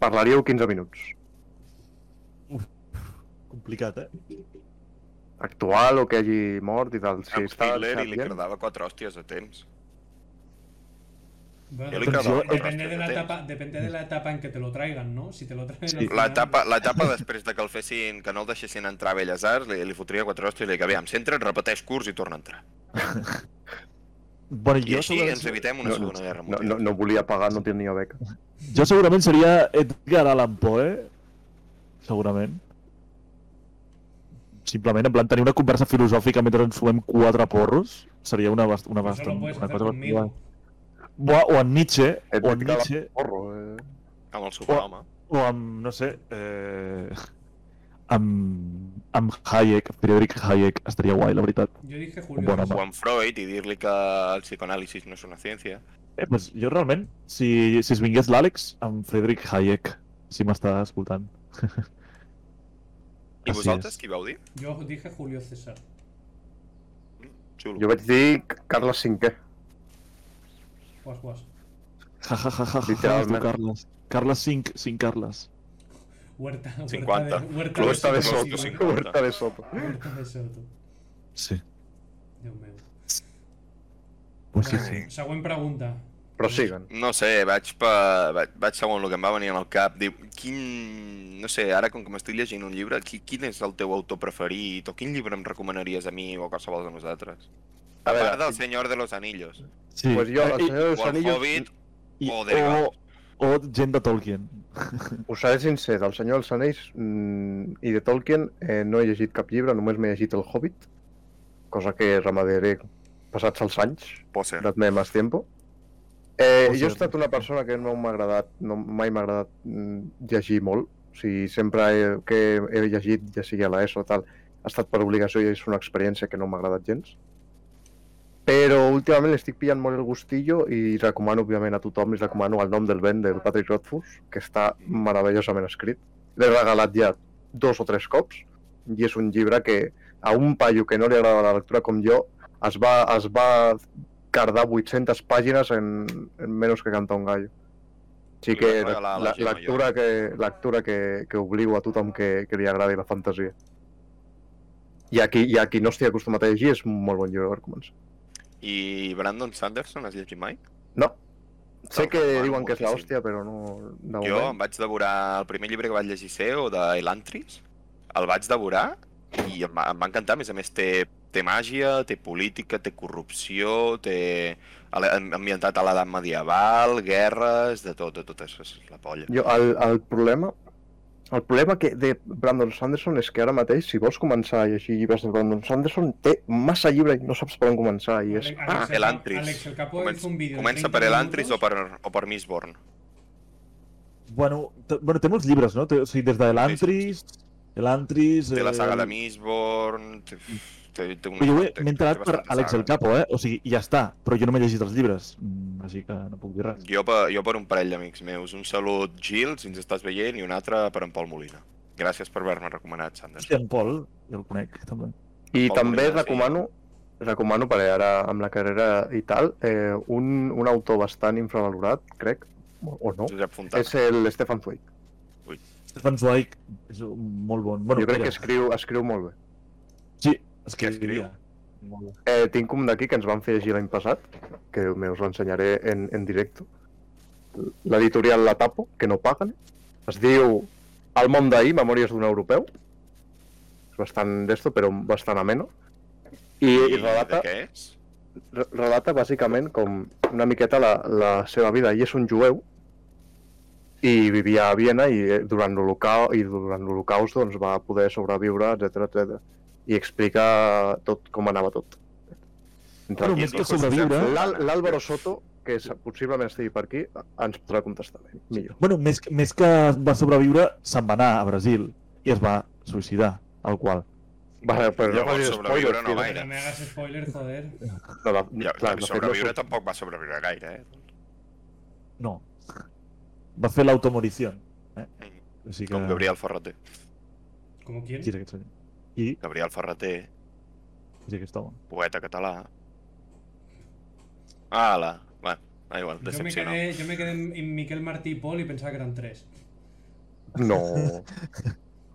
Speaker 4: parlaríeu 15 minuts?
Speaker 3: Complicat, eh?
Speaker 4: Actual o que hagi mort i tal?
Speaker 2: Sí, amb
Speaker 4: està-
Speaker 2: Hitler
Speaker 4: està
Speaker 2: i li
Speaker 4: bien?
Speaker 2: cardava quatre hòsties a temps.
Speaker 1: Bueno,
Speaker 2: Jo
Speaker 3: li
Speaker 1: depende-
Speaker 3: quedava
Speaker 1: depende,
Speaker 2: bastant
Speaker 1: de la
Speaker 2: temps.
Speaker 1: etapa, depende de la etapa en que te lo traigan, ¿no? Si te lo traen. al
Speaker 3: Sí.
Speaker 1: final-
Speaker 2: L'etapa, l'etapa després de que el fessin, que no el deixessin entrar a Belles Arts, li, li fotria quatre hòsties i li dic, aviam, s'entra, repeteix curs i torna a entrar.
Speaker 3: Bueno,
Speaker 2: I
Speaker 3: jo,
Speaker 2: així
Speaker 3: segurament-
Speaker 2: ens evitem una
Speaker 4: No,
Speaker 2: segona guerra
Speaker 4: No,
Speaker 2: mundial.
Speaker 4: no, no volia pagar, no tenia beca.
Speaker 3: jo segurament seria Edgar Allan Poe. eh? Segurament. Simplement, en plan, tenir una conversa filosòfica mentre ens fumem quatre porros seria una, bast una,
Speaker 1: Eso
Speaker 3: bastant,
Speaker 1: lo puedes
Speaker 3: una
Speaker 1: hacer
Speaker 3: cosa bastant
Speaker 1: conmigo.
Speaker 3: guai. Buah, o en Nietzsche,
Speaker 4: Et-
Speaker 3: o en
Speaker 4: et cala-
Speaker 3: Nietzsche,
Speaker 4: Porro, eh?
Speaker 2: Amb el superhome.
Speaker 3: o amb, no sé, eh, amb, amb Hayek, Friedrich Hayek, estaria guai, la veritat.
Speaker 1: Yo dije Julio.
Speaker 3: Bueno,
Speaker 2: O amb Freud i dir-li que el psicoanàlisis no és una ciència.
Speaker 3: Eh, pues jo realment, si, si es vingués l'Àlex, amb Friedrich Hayek, si m'està escoltant.
Speaker 2: I
Speaker 3: Així
Speaker 2: vosaltres,
Speaker 3: és.
Speaker 2: qui vau dir?
Speaker 1: Yo dije Julio César.
Speaker 2: Xulo.
Speaker 4: Jo vaig dir Carles V.
Speaker 1: Guas, guas.
Speaker 3: Ja, ja, ja, ja, ja, ja, es diu
Speaker 4: Literalment.
Speaker 3: Carles. Carles 5, 5 Carles.
Speaker 1: Huerta. huerta
Speaker 2: 50.
Speaker 1: de- Huerta
Speaker 2: Club
Speaker 4: Huerta de
Speaker 2: Soto,
Speaker 4: Soto.
Speaker 1: sí.
Speaker 2: 50.
Speaker 4: Huerta de Soto.
Speaker 1: Huerta de Soto.
Speaker 3: Sí.
Speaker 1: Déu meu.
Speaker 3: Pues sí, sí.
Speaker 2: Ai.
Speaker 1: Següent pregunta.
Speaker 4: Prosiguen.
Speaker 2: No sé, vaig, pa... vaig, vaig segon el que em va venir en el cap. Diu, quin... No sé, ara com que m'estic llegint un llibre, qui, quin és el teu autor preferit? O quin llibre em recomanaries a mi o a qualsevol de nosaltres? A,
Speaker 4: A veure,
Speaker 2: part del Senyor de los Anillos.
Speaker 3: sí.
Speaker 4: Pues jo,
Speaker 3: Eh,
Speaker 4: el
Speaker 3: i-
Speaker 4: Senyor dels
Speaker 2: O el
Speaker 4: Anillos...
Speaker 2: Hobbit,
Speaker 3: i-
Speaker 2: o derivats.
Speaker 3: o, o gent de Tolkien.
Speaker 4: Us seré sincer, del Senyor dels Anells mm, i de Tolkien eh, no he llegit cap llibre, només m'he llegit el Hobbit, cosa que ramaderé passats els anys,
Speaker 2: Posser.
Speaker 4: dat-me més tiempo. Eh,
Speaker 3: Pot
Speaker 4: jo he
Speaker 3: ser.
Speaker 4: estat una persona que no m'ha agradat, no, mai m'ha agradat mm, llegir molt. O sigui, sempre he, que he llegit, ja sigui a l'ESO o tal, ha estat per obligació i és una experiència que no m'ha agradat gens. Però últimament li estic pillant molt el gustillo i recomano, òbviament, a tothom, li recomano el nom del vent del Patrick Rothfuss, que està meravellosament escrit. L'he regalat ja dos o tres cops i és un llibre que a un paio que no li agrada la lectura com jo es va, es va cardar 800 pàgines en, en menys que cantar un gallo. Així
Speaker 2: Li
Speaker 4: que
Speaker 2: vas regalar a la
Speaker 4: la,
Speaker 2: gent
Speaker 4: lectura, que, lectura que, que obligo a tothom que, que li agradi la fantasia. I a, qui, I a qui no estigui acostumat a llegir és un molt bon llibre per començar.
Speaker 2: I Brandon Sanderson, has llegit mai?
Speaker 4: No.
Speaker 2: Te'l
Speaker 4: Sé que
Speaker 2: recomano
Speaker 4: diuen que és
Speaker 2: moltíssim.
Speaker 4: l'hòstia, però no...
Speaker 2: Jo
Speaker 4: De
Speaker 2: em
Speaker 4: moment.
Speaker 2: vaig devorar el primer llibre que vaig llegir seu, de Elantris, el vaig devorar i em va, em va encantar, a més a més té, té màgia, té política, té corrupció, té a la- am- ambientat a l'edat medieval, guerres, de tot, de tot, és, és la polla.
Speaker 4: Jo, el, el problema... El problema que de Brandon Sanderson és que ara mateix, si vols començar a llegir llibres de Brandon Sanderson, té massa llibre i no saps per on començar. I és...
Speaker 1: Alex-
Speaker 2: Ah,
Speaker 1: Alex, el
Speaker 2: Elantris.
Speaker 1: Capo- Alex el Capo
Speaker 2: Comença-
Speaker 1: hizo un vídeo. de
Speaker 2: Comença
Speaker 1: 30
Speaker 2: per Elantris o
Speaker 1: minutos.
Speaker 2: per, o per Mistborn.
Speaker 3: Bueno, te- bueno, té molts llibres, no? Té, o sigui, des de l'Antris, l'Antris...
Speaker 2: Té la saga de
Speaker 3: eh,
Speaker 2: Mistborn, té, té, té una...
Speaker 3: Però jo
Speaker 2: té-
Speaker 3: he-
Speaker 2: té
Speaker 3: m'he enterat per
Speaker 2: bastantes
Speaker 3: Àlex el
Speaker 2: sagues.
Speaker 3: Capo, eh? O sigui, ja està, però jo no m'he llegit els llibres, mm, així que no puc dir res.
Speaker 2: Jo per, jo per un parell d'amics meus. Un salut, Gil, si ens estàs veient, i un altre per en Pol Molina. Gràcies per haver-me recomanat, Sanders.
Speaker 3: Hòstia, en Pol, jo el conec, també.
Speaker 4: I
Speaker 2: Molt
Speaker 4: també
Speaker 2: bonic, sí.
Speaker 4: recomano, recomano per ara amb la carrera i tal, eh, un, un autor bastant infravalorat, crec, o, o no,
Speaker 2: Josep Fontana.
Speaker 4: és el Stefan Zweig.
Speaker 3: Stefan Zweig és un- molt bon. Bueno,
Speaker 4: Jo crec que
Speaker 3: era.
Speaker 4: escriu, escriu molt bé.
Speaker 3: Sí,
Speaker 2: que escriu.
Speaker 3: escrivia. Molt bé.
Speaker 4: Eh, tinc un d'aquí que ens van fer llegir l'any passat, que me us l'ensenyaré en, en directe. L'editorial La Tapo, que no paguen. Es diu El món d'ahir, memòries d'un europeu. És bastant d'esto, però bastant ameno. I, i relata,
Speaker 2: de Què és?
Speaker 4: re- relata bàsicament com una miqueta la, la seva vida. Ell és un jueu i vivia a Viena i eh, durant l'Holocaust, i durant l'Holocaust doncs, va poder sobreviure, etc etc. I explica tot com anava tot. Entre
Speaker 3: Bueno,
Speaker 4: qui-
Speaker 3: més que
Speaker 2: Josep
Speaker 3: sobreviure,
Speaker 2: Fontana.
Speaker 4: L'Al- L'Àlvaro Soto, que se- possiblement estigui per aquí, ens podrà contestar bé, millor.
Speaker 3: Bueno, més, que- més que va sobreviure, se'n va anar a Brasil i es va suïcidar, al qual.
Speaker 4: Va, però no
Speaker 2: Llavors,
Speaker 4: facis
Speaker 2: sobreviure
Speaker 4: spoilers,
Speaker 2: no
Speaker 4: tio.
Speaker 2: gaire.
Speaker 1: No me hagas spoiler, joder.
Speaker 4: No, la,
Speaker 2: Ja,
Speaker 4: clar, de fet, no
Speaker 2: sobreviure
Speaker 4: surt-
Speaker 2: tampoc va sobreviure gaire, eh?
Speaker 3: No. Va fer l'automorició. Eh? O sigui que...
Speaker 2: Com Gabriel Ferreter.
Speaker 1: ¿Como quién?
Speaker 3: Qui és aquest senyor? I
Speaker 2: Gabriel Ferreter,
Speaker 3: qui és aquest home?
Speaker 2: poeta català. Ala, va, da igual,
Speaker 1: Yo me,
Speaker 2: decepcionó.
Speaker 1: quedé, yo me quedé en en Miquel Martí y Pol y pensaba que eran tres.
Speaker 4: No.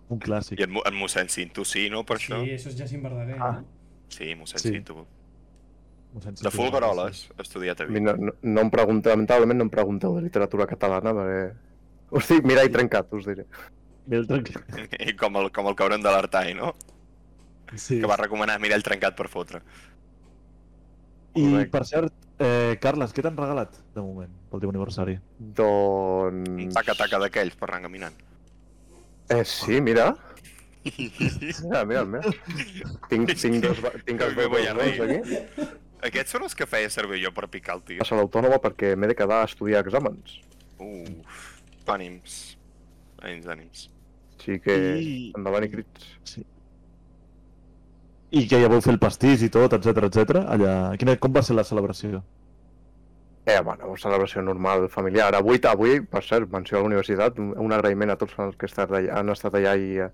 Speaker 3: Un clàssic.
Speaker 2: I en, Mo- en mossèn Cinto sí, no, per
Speaker 1: Sí,
Speaker 2: això?
Speaker 1: eso es Justin Bardaguer.
Speaker 3: Ah.
Speaker 1: ¿no?
Speaker 2: Sí, mossèn
Speaker 3: Sí.
Speaker 2: Cinto. De Fulgaroles, he estudiat a
Speaker 4: A mi
Speaker 2: Vic.
Speaker 4: no, no, no em pregunteu, lamentablement no em pregunteu de literatura catalana, perquè... Us dic, mira, he trencat, us diré.
Speaker 3: Mira, tranquil.
Speaker 2: I com el, com el cabron de l'Artai, no?
Speaker 3: Sí.
Speaker 2: Que va recomanar Mirall trencat per fotre.
Speaker 3: I
Speaker 2: Correcte.
Speaker 3: per cert, eh, Carles, què t'han regalat de moment pel teu aniversari?
Speaker 2: Un
Speaker 4: Doncs...
Speaker 2: taca-taca d'aquells per anar caminant.
Speaker 4: Eh, sí, mira. Mira, mira el meu. Tinc, tinc, dos, ba- tinc
Speaker 2: Ui,
Speaker 4: els
Speaker 2: me
Speaker 4: meus
Speaker 2: voy a
Speaker 4: dos
Speaker 2: reír.
Speaker 4: aquí.
Speaker 2: Aquests són els que feia servir jo per picar el
Speaker 4: A
Speaker 2: tio.
Speaker 4: sala autònoma perquè m'he de quedar a estudiar exàmens.
Speaker 2: Uf, ànims. Ànims, ànims.
Speaker 4: Així que
Speaker 3: I-
Speaker 4: endavant i crits.
Speaker 3: I que ja vau fer el pastís i tot, etc etc. allà... Quina, com va ser la celebració?
Speaker 4: Eh, bueno, una celebració normal, familiar. Avui, avui per cert, menció a la universitat, un un agraïment a tots els que estat allà, han estat allà i, eh,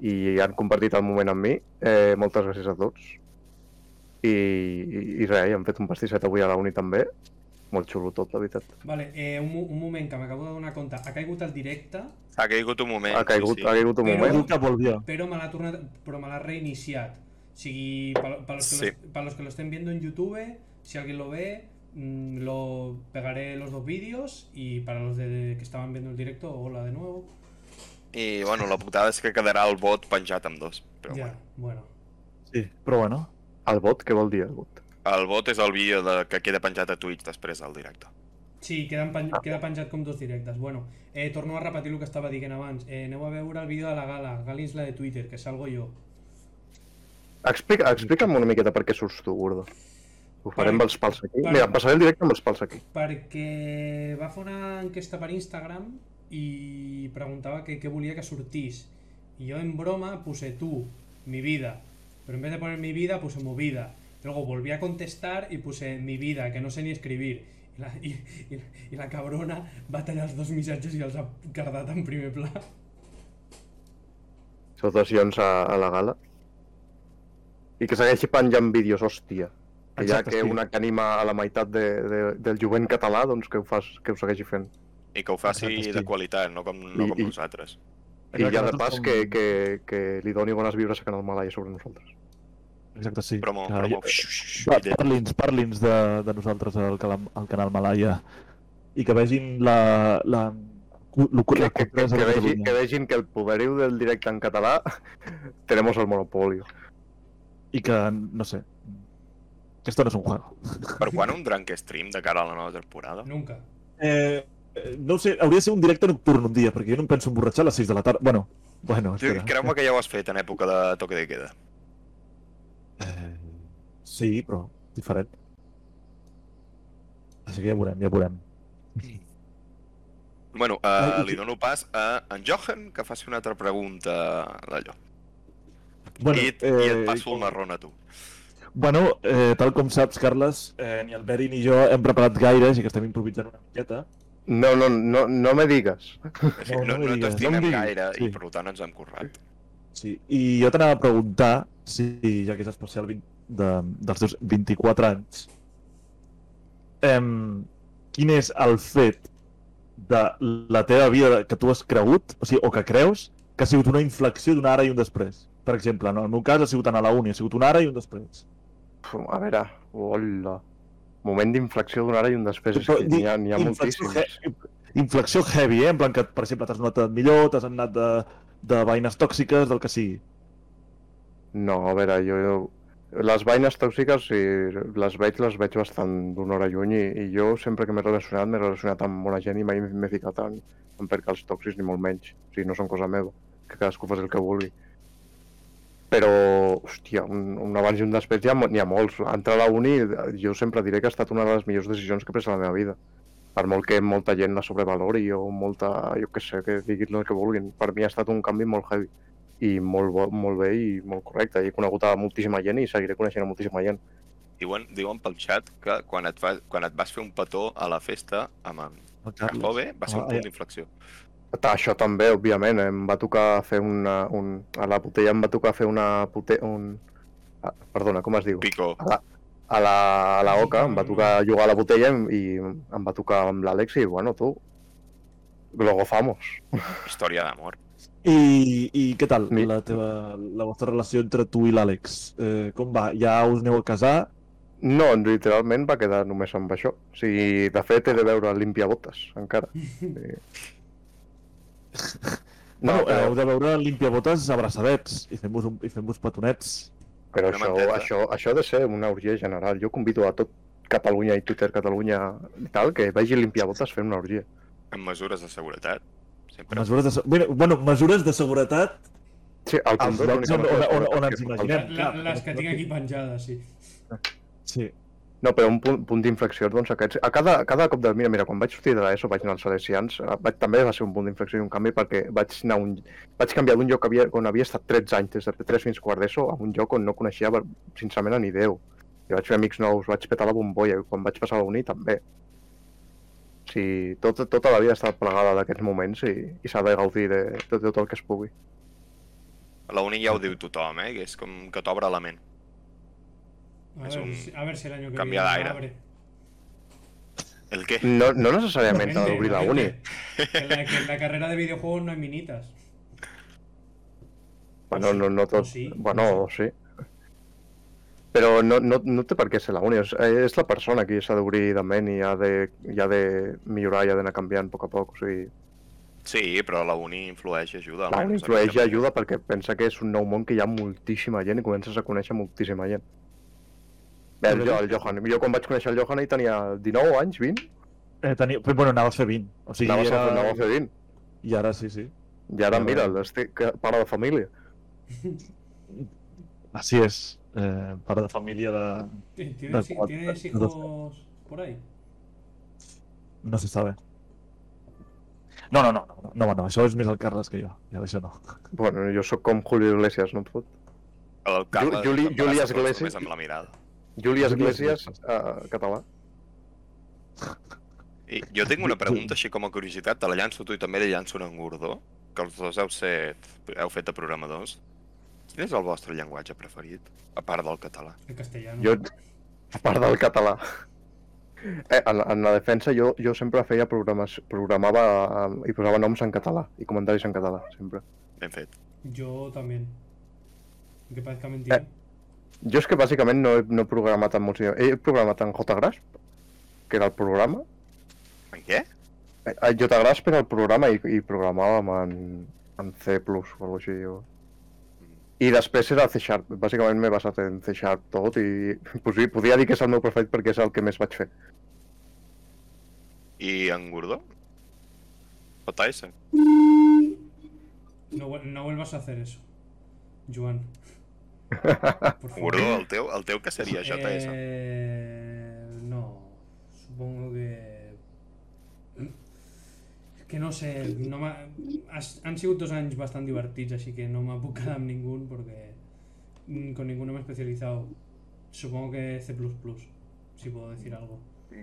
Speaker 4: i han compartit el moment amb mi. Eh, moltes gràcies a tots. I, i, i res, i hem fet un pastisset avui a la uni també. Molt xulo tot, la veritat.
Speaker 1: Vale, eh, un, mo- un moment, que m'acabo de donar compte. Ha caigut el directe,
Speaker 2: Ha caigut un moment.
Speaker 4: Ha caigut,
Speaker 2: sí,
Speaker 4: ha caigut un
Speaker 1: Però-
Speaker 4: moment.
Speaker 3: Diu que volvió.
Speaker 1: pero me la tornat, però me l'ha reiniciat. O sigui, para, los que
Speaker 2: Sí.
Speaker 1: lo, para los que lo estén viendo en YouTube, si alguien lo ve, mm, lo pegaré los dos vídeos y para los de- que estaban viendo el directo, hola de nuevo.
Speaker 2: I, bueno, la putada és que quedarà el bot penjat amb dos. Però
Speaker 1: ya,
Speaker 2: bueno.
Speaker 1: bueno.
Speaker 3: Sí, però bueno.
Speaker 4: El vot, què vol dir el vot?
Speaker 2: El bot és el vídeo de... que queda penjat a Twitch després del directe.
Speaker 1: Sí, queden pen- queda penjat com dos directes. Bueno, eh, torno a repetir el que estava dient abans. Eh, aneu a veure el vídeo de la gala, Gala Isla de Twitter, que salgo jo.
Speaker 4: Explica, explica'm una miqueta per què surts tu, Gordo. Ho
Speaker 1: Vale.
Speaker 4: farem amb els pals aquí.
Speaker 1: Vale.
Speaker 4: Mira, passaré el directe amb els pals aquí.
Speaker 1: perquè va fer una enquesta per Instagram i preguntava que què volia que sortís. I jo en broma puse tu, mi vida. Pero en vez de poner mi vida, puse movida. Luego volví a contestar y puse mi vida, que no sé ni escribir. Y la, y, y- y la cabrona va tallar els dos missatges i els ha cardat en primer pla.
Speaker 4: salutacions a, a la gala. I que segueixi penjant vídeos, hòstia. Que ja
Speaker 3: Exacte,
Speaker 4: que
Speaker 3: sí.
Speaker 4: una que anima a la meitat de, de, del jovent català, doncs que ho, fas, que ho segueixi fent.
Speaker 2: I que ho faci
Speaker 3: Exacte, sí.
Speaker 2: de qualitat, no com, no
Speaker 4: I-
Speaker 2: com
Speaker 4: i-
Speaker 2: nosaltres.
Speaker 4: I ja de
Speaker 3: nosaltres
Speaker 4: pas
Speaker 3: som-
Speaker 4: que, que, que li doni bones vibres a Canal Malaya sobre nosaltres.
Speaker 3: Exacte, sí.
Speaker 2: Promo,
Speaker 3: Que-
Speaker 2: promo.
Speaker 3: Va,
Speaker 2: Xux,
Speaker 3: Parli'ns, parli'ns de, de nosaltres al, cala- al canal Malaya i que vegin la... la, cu- lo-
Speaker 4: Que,
Speaker 3: la
Speaker 4: que, que,
Speaker 3: cultura de
Speaker 4: que, vegi,
Speaker 3: Catalunya.
Speaker 4: que vegin que el poderiu del directe en català tenemos el monopolio.
Speaker 3: I que, no sé, que esto no és un juego.
Speaker 2: Per quan un drunk stream de cara a la nova temporada?
Speaker 1: Nunca.
Speaker 3: Eh, no ho sé, hauria de ser un directe nocturn un dia, perquè jo no em penso emborratxar a les 6 de la tarda. Bueno, bueno,
Speaker 2: Tu,
Speaker 3: espera.
Speaker 2: Creu-me que ja ho has fet en època de toque de queda.
Speaker 3: Eh, sí, però diferent. Així que ja veurem, ja veurem.
Speaker 2: Bueno,
Speaker 3: Ah,
Speaker 2: uh,
Speaker 3: i
Speaker 2: li
Speaker 3: qui-
Speaker 2: dono pas a en Johan que faci una altra pregunta d'allò.
Speaker 3: Bueno,
Speaker 2: I, et- I et
Speaker 3: eh,
Speaker 2: passo el marrón a tu.
Speaker 3: Bueno, eh, tal com saps, Carles, eh, ni el Beri ni jo hem preparat gaires i que estem improvisant una miqueta.
Speaker 4: No, no, no, no me digues.
Speaker 2: És a dir,
Speaker 3: no
Speaker 2: No, no,
Speaker 3: m'ho digues, no em
Speaker 2: t'estimem
Speaker 3: diguis,
Speaker 2: gaire i
Speaker 3: sí.
Speaker 2: per tant ens hem currat.
Speaker 3: Sí. I jo t'anava a preguntar si, ja que és especial 20, de, dels teus 24 anys, em, quin és el fet de la teva vida que tu has cregut, o sigui, o que creus, que ha sigut una inflexió d'un ara i un després. Per exemple, en el meu cas ha sigut anar a la uni, ha sigut un ara i un després.
Speaker 4: Pf, A veure, hola. Moment d'inflexió d'una hora i un després. És
Speaker 3: Però
Speaker 4: que
Speaker 3: dic,
Speaker 4: n'hi ha, n'hi ha
Speaker 3: inflexió,
Speaker 4: moltíssims.
Speaker 3: he- inflexió heavy, eh? En plan que, per exemple, t'has notat millor, t'has anat de, de veïnes tòxiques, del que sigui.
Speaker 4: No, a veure, jo... jo... Les veïnes tòxiques, si les veig, les veig bastant d'una hora lluny i, i jo sempre que m'he relacionat, m'he relacionat amb bona gent i mai m'he ficat en, en percals tòxics ni molt menys. O sigui, no són cosa meva, que cadascú faci el que vulgui. Però, hòstia, un, un abans i un després hi ha, mo- n'hi ha molts. Entrar a la uni, eh, jo sempre diré que ha estat una de les millors decisions que he pres a la meva vida. Per molt que molta gent la sobrevalori o molta, jo què sé, que diguin el que vulguin. Per mi ha estat un canvi molt heavy i molt, bo, molt bé i molt correcte. He conegut a moltíssima gent i seguiré coneixent a moltíssima gent.
Speaker 2: Diuen, diuen pel xat que quan et, fa, quan et vas fer un petó a la festa amb en
Speaker 3: El Carles.
Speaker 2: Cajove va ser un
Speaker 3: Ah,
Speaker 2: punt
Speaker 3: ja.
Speaker 2: d'inflexió.
Speaker 4: Ta- Això també, òbviament, em va tocar fer una... Un, a la botella em va tocar fer una... Pute, un, ah, perdona, com es diu?
Speaker 2: Pico.
Speaker 4: A la, a la OCA em va tocar jugar a la botella i em va tocar amb l'Àlex i, bueno, tu, luego famos.
Speaker 2: Història d'amor.
Speaker 3: I, I què tal
Speaker 4: Mi-
Speaker 3: la, teva, la vostra relació entre tu i l'Àlex? Eh, com va? Ja us aneu a casar?
Speaker 4: No, literalment va quedar només amb això. O sigui, de fet, he de veure Limpiabotes, encara. Sí.
Speaker 3: No,
Speaker 4: No,
Speaker 3: bueno, eh, heu
Speaker 4: però,
Speaker 3: de veure limpiabotes abraçadets i fem-vos un... i fem-vos petonets.
Speaker 4: però
Speaker 2: Una
Speaker 4: això,
Speaker 2: manteta.
Speaker 4: això, això ha de ser una orgia general. Jo convido a tot Catalunya i Twitter Catalunya i tal, que vagi Limpiabotes fent una orgia.
Speaker 2: Amb mesures de seguretat. Sempre.
Speaker 3: Mesures de... se- Mira, bueno, mesures de seguretat
Speaker 4: Sí, al
Speaker 3: als
Speaker 4: Condor
Speaker 3: llocs
Speaker 4: l'única
Speaker 3: on, on,
Speaker 4: mesura de
Speaker 3: on,
Speaker 4: seguretat
Speaker 3: on
Speaker 4: que
Speaker 3: ens
Speaker 4: fa falta-
Speaker 1: La-
Speaker 3: imaginem. clar,
Speaker 1: les que
Speaker 3: però-
Speaker 1: tinc aquí penjades, sí.
Speaker 3: Sí.
Speaker 4: No, però un punt, punt d'inflexió, doncs aquests... A cada, cada cop de... Mira, mira, quan vaig sortir de l'ESO vaig anar als Salesians, eh, vaig, també va ser un punt d'inflexió i un canvi perquè vaig anar a un... Vaig canviar d'un lloc que havia, on havia estat 13 anys, des de 3 fins quart d'ESO, a un lloc on no coneixia ver- sincerament a ni Déu. I vaig fer amics nous, vaig petar la bombolla, i quan vaig passar a la uni també. Sí, tot, tota la vida ha estat plegada d'aquests moments i, i s'ha de gaudir de, de, tot el que es pugui.
Speaker 2: La uni ja ho diu tothom, eh? Que és com que t'obre la ment.
Speaker 1: A
Speaker 2: Es
Speaker 1: ver,
Speaker 2: un
Speaker 1: si- a ver si el año que
Speaker 2: cambio
Speaker 1: viene
Speaker 2: de aire.
Speaker 1: abre.
Speaker 2: El què?
Speaker 4: No, no necessàriament t'ha
Speaker 1: Gente,
Speaker 4: d'obrir la
Speaker 1: gente,
Speaker 4: uni.
Speaker 1: Que en la, que en la carrera de videojuegos no hay minitas.
Speaker 4: Bueno, no, no
Speaker 1: O
Speaker 4: tot...
Speaker 1: sí.
Speaker 4: Bueno, sí. Però no, no, no té per què ser la única. És, eh, és la persona qui s'ha d'obrir de ment i ha de, i ha de millorar i ha d'anar canviant a poc a poc. O sigui,
Speaker 2: Sí, però la uni influeix i ajuda.
Speaker 4: la
Speaker 2: almenys,
Speaker 4: uni
Speaker 2: a
Speaker 4: influeix i
Speaker 2: mi.
Speaker 4: ajuda perquè pensa que és un nou món que hi ha moltíssima gent i comences a conèixer moltíssima gent. Bé, el, jo, el Johan. Jo quan vaig conèixer el Johan ell tenia 19 anys, 20.
Speaker 3: Eh, tenia... Però, bueno, anava a fer 20. O
Speaker 4: Sí,
Speaker 3: sigui,
Speaker 4: anava,
Speaker 3: era...
Speaker 4: era... anava a fer 20.
Speaker 3: I ara sí, sí.
Speaker 4: I ara,
Speaker 3: Ja
Speaker 4: mira,
Speaker 3: veus.
Speaker 4: estic que- pare de família.
Speaker 3: Així és. Eh, pare de família de...
Speaker 1: ¿Tienes,
Speaker 3: cuatro,
Speaker 1: tienes
Speaker 3: de
Speaker 1: hijos por ahí?
Speaker 3: No se sabe. No, no, no, no, no, no, no, això és més el Carles que jo, ja d'això no.
Speaker 4: Bueno, jo sóc com Julio Iglesias, no em fot.
Speaker 2: El Carles
Speaker 4: Juli-
Speaker 2: em
Speaker 4: Juli
Speaker 2: passa tot
Speaker 4: Iglesias.
Speaker 2: Només amb la mirada.
Speaker 4: Juli
Speaker 3: Juli
Speaker 4: Iglesias,
Speaker 3: Iglesias.
Speaker 4: eh, català.
Speaker 2: I jo tinc una pregunta així com a curiositat, te la llanço a tu i també li llanço una a en Gordó, que els dos heu, set, heu fet de programadors. Quin és el vostre llenguatge preferit, a part del català?
Speaker 1: El castellano.
Speaker 4: Jo, a part del català. Eh, en, en la defensa jo, jo sempre feia programes, programava eh, i posava noms en català i comentaris en català, sempre.
Speaker 2: Ben fet.
Speaker 1: Yo también. Aunque parezca mentira.
Speaker 4: Eh. Jo és que bàsicament no he, no he programat en molts idiomes. He programat en JGrasp, que era el programa.
Speaker 2: En què?
Speaker 4: Eh, eh, JGrasp era el programa i, i programàvem en, en C++ o alguna així. O... I després era C Sharp. Bàsicament m'he basat en C Sharp tot i pues, sí, podria dir que és el meu preferit perquè és el que més vaig fer.
Speaker 2: I en Gordó? O Tyson?
Speaker 1: No, vuel- no vuelvas a hacer eso, Juan. Por favor.
Speaker 2: Gordó, el teu, el teu que seria JS?
Speaker 1: Eh, no, supongo que... És Que no sé, no m'ha- has- han sido dos años bastante divertidos, así que no me puc quedar amb ningún porque mm, con ninguno me he especializado. Supongo que C++, si puedo decir algo.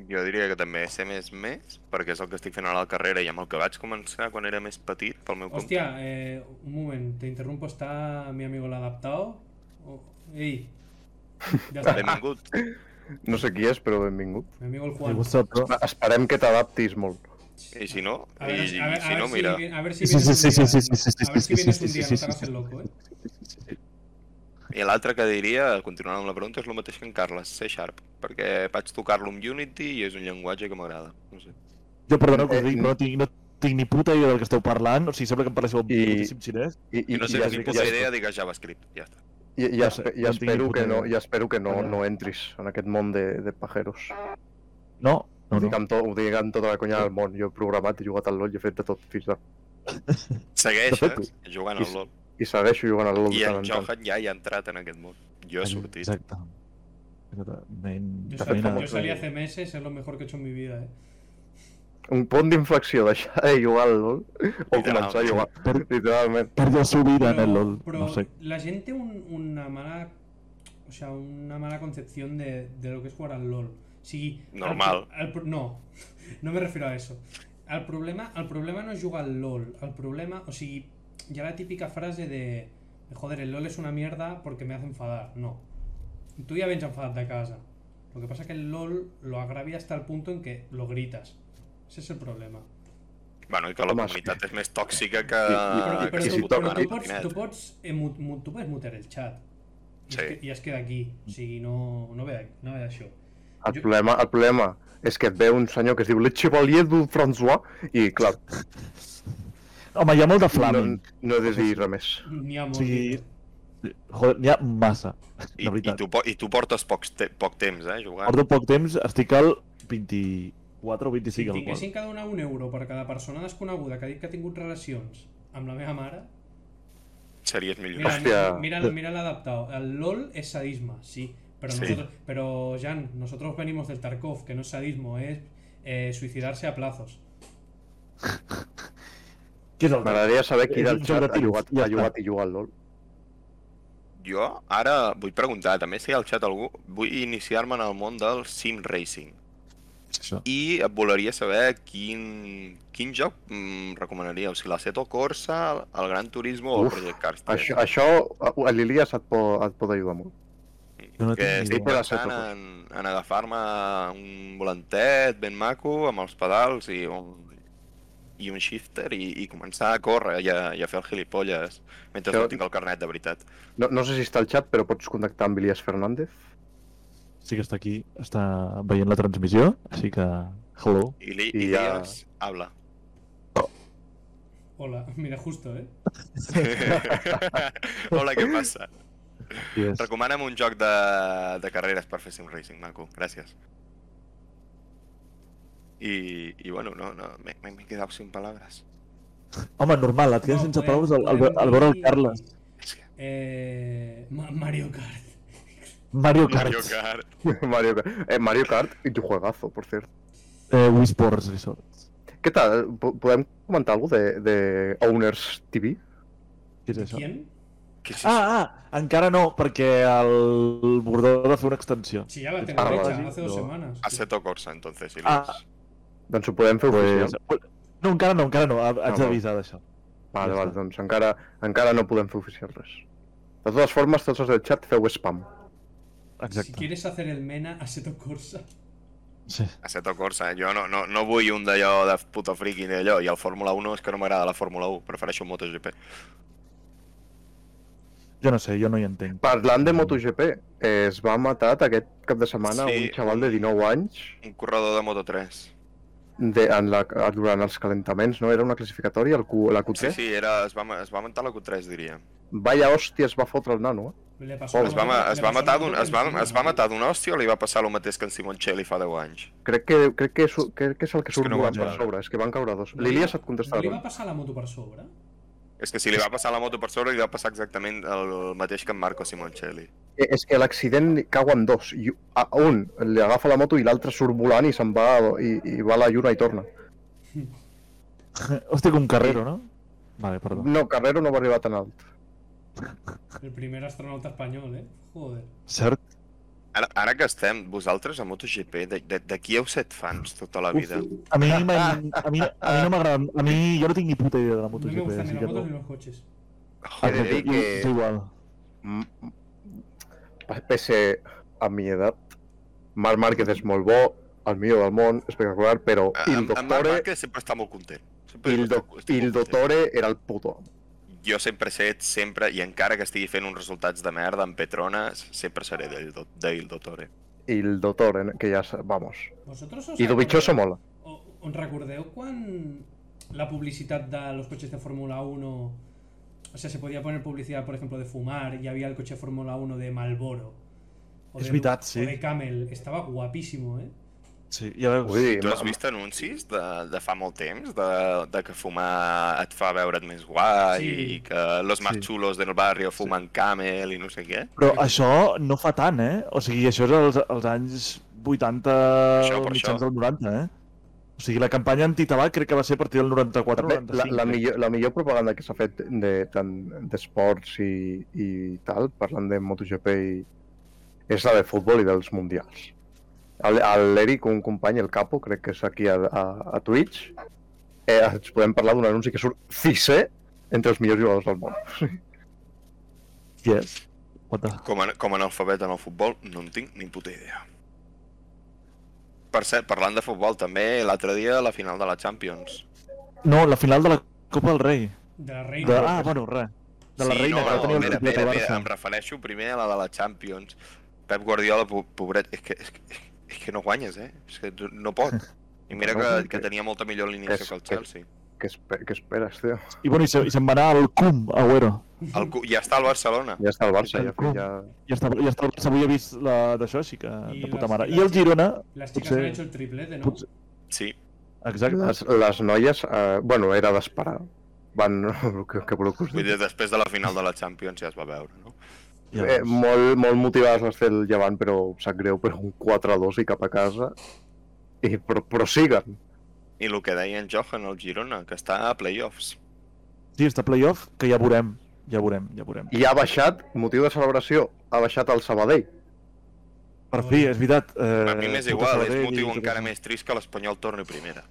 Speaker 2: Jo diria que també C++, perquè és el que estic fent ara a la carrera i amb el que vaig començar quan era més petit, pel meu compte.
Speaker 1: Hostia, eh, un momento, te interrumpo, ¿está mi amigo el adaptado? Oh, ¡Ey! Ya está,
Speaker 2: Benvingut.
Speaker 4: No sé qui és, però benvingut.
Speaker 1: mi amigo el
Speaker 3: I
Speaker 1: Juan.
Speaker 3: vosaltres...
Speaker 4: Esperem que t'adaptis molt.
Speaker 2: I si no,
Speaker 1: A ver,
Speaker 2: i,
Speaker 1: a ver-
Speaker 2: i
Speaker 1: a
Speaker 2: si
Speaker 1: ver
Speaker 2: no,
Speaker 1: si-
Speaker 2: mira,
Speaker 1: a ver si
Speaker 3: Sí, sí,
Speaker 1: vienes un
Speaker 3: sí, sí,
Speaker 1: día-
Speaker 3: sí, sí, sí, sí,
Speaker 1: a ver si
Speaker 3: sí,
Speaker 1: vienes
Speaker 3: sí,
Speaker 1: un
Speaker 3: sí,
Speaker 1: día,
Speaker 3: sí,
Speaker 1: no
Speaker 3: sí,
Speaker 1: te hagas
Speaker 3: sí,
Speaker 1: el loco, eh.
Speaker 2: I l'altre que diria, continuant amb la pregunta, és el mateix que en Carles, C Sharp, perquè vaig tocar-lo amb Unity i és un llenguatge que m'agrada. No sé.
Speaker 3: Jo, perdoneu que us
Speaker 4: Eh,
Speaker 3: dic, però no tinc, no tinc ni puta idea del que esteu parlant, o sigui, sembla que em parléssiu
Speaker 4: I-
Speaker 3: moltíssim xinès.
Speaker 4: I,
Speaker 2: I no sé,
Speaker 4: ja-
Speaker 2: ni
Speaker 4: ja-
Speaker 2: puta
Speaker 4: ja-
Speaker 2: idea, digues JavaScript, ja està.
Speaker 4: I, i,
Speaker 3: No
Speaker 4: espe-
Speaker 3: sé,
Speaker 4: i
Speaker 3: no tinc ni
Speaker 4: espero
Speaker 3: puta
Speaker 4: que no,
Speaker 3: idea.
Speaker 4: i espero que no,
Speaker 3: Allà.
Speaker 4: no entris en aquest món de, de pajeros.
Speaker 3: No,
Speaker 4: No,
Speaker 3: no,
Speaker 4: no. Dic
Speaker 3: no.
Speaker 4: amb to, ho dic amb tota la conya del món. Jo he programat, he jugat al LoL, i he fet de tot fins a...
Speaker 2: Segueixes
Speaker 4: De fet,
Speaker 2: jugant al
Speaker 4: i-
Speaker 2: LoL.
Speaker 4: I segueixo jugant al LoL
Speaker 2: I en
Speaker 4: de tant en tant.
Speaker 2: Johan ja hi ha entrat en aquest món. Jo he sortit.
Speaker 3: Exacte. Exacte. Main...
Speaker 1: Yo,
Speaker 3: de
Speaker 1: sal-
Speaker 3: feina.
Speaker 1: yo salí hace meses, es lo mejor que he hecho en mi vida, eh.
Speaker 4: Un punt d'inflexió, deixar de jugar al LoL o començar a jugar,
Speaker 3: Per,
Speaker 4: literalment.
Speaker 3: perdió su vida en
Speaker 1: Pero-
Speaker 3: el LOL,
Speaker 1: pero
Speaker 3: no sé.
Speaker 1: la gente un- una mala o sea, una mala concepción de, de lo que es jugar al LOL. Sí, al
Speaker 2: Normal.
Speaker 1: pro- al pro- no, no me refiero a eso. Al problema, al problema no es jugar al LOL, al problema, o sigui, ya la típica frase de joder, el LOL es una mierda porque me hace enfadar. No. Tú ya vienes enfadado de casa. Lo que pasa es que el LOL lo agravia hasta el punto en que lo gritas. Ese es el problema.
Speaker 2: Bueno, i que la
Speaker 4: Home,
Speaker 2: comunitat és més tòxica que...
Speaker 4: I- i-
Speaker 1: Però,
Speaker 4: Ah,
Speaker 1: però,
Speaker 2: que
Speaker 1: tu,
Speaker 2: si
Speaker 4: sí,
Speaker 1: tu,
Speaker 2: fot
Speaker 1: però
Speaker 2: una
Speaker 1: tu, pots,
Speaker 2: patineta.
Speaker 1: tu, pots, eh, mu- mu- tu pots mutear el chat. i,
Speaker 2: Sí.
Speaker 1: es, que- i es queda aquí. O sigui, no, no, ve, no ve d'això. Jo-
Speaker 4: El, problema, el problema és que et ve un senyor que es diu Le Chevalier du François i, clar,
Speaker 3: Home, hi ha molt de
Speaker 4: no,
Speaker 3: flaming.
Speaker 4: no he de dir res més.
Speaker 1: N'hi ha
Speaker 3: O
Speaker 1: molt.
Speaker 3: sigui, joder, n'hi ha massa,
Speaker 2: I, i,
Speaker 3: de veritat.
Speaker 2: tu, po- I tu portes poc, te poc temps, eh, jugant.
Speaker 3: Porto poc temps, estic al 24 o 25
Speaker 1: si
Speaker 3: al qual.
Speaker 1: tinguessin cada una un euro per cada persona desconeguda que ha dit que ha tingut relacions amb la meva mare,
Speaker 2: Series millor.
Speaker 1: mira,
Speaker 4: Hòstia.
Speaker 1: mira, mira l'adaptado. El LOL es sadismo, sí. Pero,
Speaker 2: Sí.
Speaker 1: Nosotros, pero, Jan, nosotros venimos del Tarkov, que no es sadismo, es eh, suicidarse a plazos.
Speaker 3: Què és el que?
Speaker 4: M'agradaria saber qui
Speaker 3: És
Speaker 4: del
Speaker 3: un joc
Speaker 4: xat
Speaker 3: de
Speaker 4: ha jugat,
Speaker 3: tiros, ja
Speaker 4: ha jugat i jugat al LOL.
Speaker 2: Jo ara vull preguntar, també si hi ha al xat algú, vull iniciar-me en el món del sim racing.
Speaker 3: És això.
Speaker 2: I et volaria saber quin, quin joc mm, recomanaríeu, si l'Aceto Corsa, el Gran Turismo o el
Speaker 4: Uf,
Speaker 2: Project Cars 3.
Speaker 4: Això, això a- a l'Ilias et, po, et pot ajudar molt.
Speaker 3: Jo no
Speaker 2: que
Speaker 3: tinc ni
Speaker 2: estic
Speaker 4: idea.
Speaker 2: pensant en, en agafar-me un volantet ben maco, amb els pedals i un, i un shifter i, i començar a córrer i a, i a fer el gilipolles mentre
Speaker 4: Jo-
Speaker 2: no tinc el carnet, de veritat.
Speaker 4: No, no sé si està al xat, però pots contactar amb Ilias Fernández.
Speaker 3: Sí que està aquí, està veient la transmissió, així que... Hello.
Speaker 2: I, li,
Speaker 4: I
Speaker 2: i,
Speaker 4: ja-
Speaker 2: Dias habla.
Speaker 1: Hola, mira, justo, ¿eh?
Speaker 2: Hola, què passa?
Speaker 3: Yes.
Speaker 2: Recomana'm un joc de, de carreres per fer sim racing, maco. Gràcies. I, i bueno, no, no, me- me- m'he quedat sin paraules.
Speaker 3: Home, normal, et quedes
Speaker 1: No,
Speaker 3: sense
Speaker 1: podem-
Speaker 3: paraules al, al,
Speaker 1: podem
Speaker 3: al veure el
Speaker 1: dir,
Speaker 3: Carles.
Speaker 2: És que-
Speaker 1: eh, Ma- Mario Kart.
Speaker 3: Mario Kart.
Speaker 2: Mario Kart.
Speaker 4: Mario, Kart. eh, Mario Kart i tu juegazo, por cierto.
Speaker 3: Eh, Wii Sports Resort.
Speaker 4: Què tal? Po- Podem comentar alguna de, de Owners TV?
Speaker 3: Què és això?
Speaker 1: ¿Quién?
Speaker 2: Què és això?
Speaker 3: Ah, ah, encara no, perquè el Bordó ha de fer una extensió.
Speaker 1: Si ya la
Speaker 3: Es
Speaker 1: tengo
Speaker 4: Parla,
Speaker 1: hecha
Speaker 3: sí,
Speaker 1: hace dos
Speaker 3: no.
Speaker 1: semanas.
Speaker 2: Aceto Corsa, entonces, si
Speaker 3: Ah.
Speaker 4: Doncs ho podem fer
Speaker 3: Pues...
Speaker 4: oficial.
Speaker 3: No, encara no, encara no, ha- haig
Speaker 4: no.
Speaker 3: d'avisar d'això.
Speaker 4: Vale,
Speaker 3: ja
Speaker 4: vale,
Speaker 3: està.
Speaker 4: doncs encara, encara no podem fer oficial res. De totes formes, tots els del xat feu spam.
Speaker 1: Si
Speaker 3: Exacte.
Speaker 1: quieres hacer el Mena, Aseto Corsa.
Speaker 3: Sí.
Speaker 2: Aceto Corsa, eh? jo no, no, no vull un d'allò de puto friki ni d'allò, i el Fórmula 1 és que no m'agrada la Fórmula 1, prefereixo MotoGP.
Speaker 3: Jo no sé, jo no hi entenc.
Speaker 4: Parlant de MotoGP, eh, es va matar aquest cap de setmana
Speaker 2: Sí.
Speaker 4: un xaval de 19 anys
Speaker 2: Un corredor de Moto3.
Speaker 4: de, en la, durant els calentaments, no? Era una classificatòria, el Q, la
Speaker 2: Sí,
Speaker 4: Q3?
Speaker 2: sí, era, es, va, ma- es va mentar la Q3, diria.
Speaker 4: Vaya hòstia, es va fotre el nano, eh?
Speaker 1: Le pasó
Speaker 4: Joder,
Speaker 2: Es va, ma- es va matar d'un es va, es
Speaker 1: matar.
Speaker 2: va matar d'un hòstia o li va passar el mateix que en Simoncelli fa 10 anys?
Speaker 4: Crec que, crec que, su, crec que és el que
Speaker 2: És
Speaker 4: surt
Speaker 2: que no
Speaker 4: volant
Speaker 2: vaig
Speaker 4: per
Speaker 2: veure.
Speaker 4: sobre, és que van caure dos. L'Ilias et
Speaker 1: ¿Le iba
Speaker 4: contestarà.
Speaker 1: a pasar la moto por sobra?
Speaker 2: És que si li va passar la moto per sobre, li va passar exactament el mateix que en Marco Simoncelli.
Speaker 4: Eh, És que l'accident li cau en dos. I a un li agafa la moto i l'altre surt volant i se'n va, i, i va a la lluna i torna.
Speaker 3: Hòstia, com Carrero, no? Vale, perdó.
Speaker 4: No, Carrero no va arribar tan alt.
Speaker 1: El primer astronauta español, ¿eh? Joder.
Speaker 3: Cert?
Speaker 2: Ara, ara que estem, vosaltres a MotoGP, de, de, de qui heu set fans tota la
Speaker 3: Uf.
Speaker 2: vida?
Speaker 3: A mi, mai- a mi, a mi no m'agrada... A mi jo no tinc ni puta idea de la
Speaker 1: No me
Speaker 3: MotoGP,
Speaker 1: gustan ni
Speaker 3: així
Speaker 1: las
Speaker 3: que
Speaker 1: motos
Speaker 3: no.
Speaker 1: ni los coches.
Speaker 4: He de dir que-
Speaker 3: És igual.
Speaker 4: Mm, pese a mi edat, Marc Márquez és molt bo, el millor del món, espectacular, però
Speaker 2: A-
Speaker 4: Il
Speaker 2: En, en Eh, Marc
Speaker 4: Dottore,
Speaker 2: Márquez sempre està molt content. Sempre
Speaker 4: Il,
Speaker 2: està-
Speaker 4: do,
Speaker 2: estic molt
Speaker 4: il
Speaker 2: content.
Speaker 4: Dottore era el puto. amo.
Speaker 2: Jo sempre he set, sempre, i encara que estigui fent uns resultats de merda amb Petrona, sempre seré d'Il Do- d'Il Dottore.
Speaker 4: Il Dottore, que ja... sa- Vamos.
Speaker 1: ¿Vosotros os
Speaker 4: I Dovizioso mola.
Speaker 1: O- Us recordeu quan la publicidad de los coches de Fórmula 1, o sea, se podía poner publicidad, por ejemplo, de fumar y había el coche de Fórmula 1 de Malboro? O
Speaker 3: Es
Speaker 1: de,
Speaker 3: verdad,
Speaker 1: o
Speaker 3: sí.
Speaker 1: de Camel, estaba guapísimo, ¿eh?
Speaker 3: Sí, ja veus.
Speaker 4: Vull dir,
Speaker 2: Tu has
Speaker 4: ma-
Speaker 2: vist anuncis de, de fa molt temps, de, de que fumar et fa veure't més guai,
Speaker 1: Sí.
Speaker 2: i que los más
Speaker 3: Sí.
Speaker 2: chulos del barrio fumen camel i no sé què?
Speaker 3: Però això no fa tant, eh? O sigui, això és als, als anys 80,
Speaker 2: Això, per
Speaker 3: mitjans
Speaker 2: això.
Speaker 3: del 90, eh? O sigui, la campanya antitabac crec que va ser a partir del 94
Speaker 4: també, la,
Speaker 3: 95.
Speaker 4: la, millor, la millor propaganda que s'ha fet de- tant d'esports de, i, i tal, parlant de MotoGP, i, és la de futbol i dels mundials. El- el- L'Eric, un company, el Capo, crec que és aquí a, a, a Twitch, eh, ens podem parlar d'un anunci que surt Cissé entre els millors jugadors del món.
Speaker 3: Yes. What the...
Speaker 2: Com, a, com a analfabet en el futbol, no en tinc ni puta idea. Per cert, parlant de futbol, també l'altre dia la final de la Champions.
Speaker 3: No, la final de la Copa del Rei.
Speaker 1: De la
Speaker 3: De...
Speaker 1: Reina.
Speaker 3: Ah, bueno, res. De la reina, que no tenia
Speaker 2: mira,
Speaker 3: el titulat
Speaker 2: mira,
Speaker 3: al
Speaker 2: mira,
Speaker 3: Barça.
Speaker 2: em refereixo primer a la de la Champions. Pep Guardiola, po- pobret, és que, és, que, és que no guanyes, eh? És que no pot. I mira
Speaker 4: No,
Speaker 2: que,
Speaker 4: no,
Speaker 2: que
Speaker 4: que-
Speaker 2: tenia molta millor
Speaker 4: que
Speaker 2: alineació
Speaker 4: és-
Speaker 2: que el
Speaker 4: que-
Speaker 2: Chelsea.
Speaker 4: ¿Qué, espe- qué esperas, tío?
Speaker 3: I, bueno, i, se, i se'n va anar al CUM, Agüero.
Speaker 2: El, cu- ja està al Barcelona.
Speaker 4: Ya está el Barça, ya,
Speaker 3: Club.
Speaker 4: ya-
Speaker 3: I està, ja està, s'avui he vist la d'això, així que
Speaker 1: I
Speaker 3: de puta
Speaker 1: les-
Speaker 3: mare.
Speaker 1: i
Speaker 3: I el
Speaker 1: les-
Speaker 3: Girona,
Speaker 1: Las chicas
Speaker 3: Potser-
Speaker 1: han hecho el triplete, ¿no?
Speaker 3: potser-
Speaker 2: Sí.
Speaker 3: exacte.
Speaker 4: Las, las noies, eh, bueno, era d'esperar. Van... que, que brucos.
Speaker 2: Vull dir, després de la final de la Champions ja es va veure, no?
Speaker 3: Ja
Speaker 4: Eh,
Speaker 3: veus.
Speaker 4: molt, molt motivades les del llevant, però em sap greu, però un 4-2 i cap a casa. I pro, prosiguen.
Speaker 2: I el que deia en Johan al Girona, que està a playoffs.
Speaker 3: Sí, està playoff, que ja veurem. Ja veurem, ja veurem.
Speaker 4: I ha baixat, motiu de celebració, ha baixat el Sabadell.
Speaker 3: Per fi, és veritat. Eh,
Speaker 2: A mi m'és
Speaker 3: puta
Speaker 2: igual, és
Speaker 3: Sabadell
Speaker 2: motiu
Speaker 3: i-
Speaker 2: encara més trist que l'Espanyol torni primera.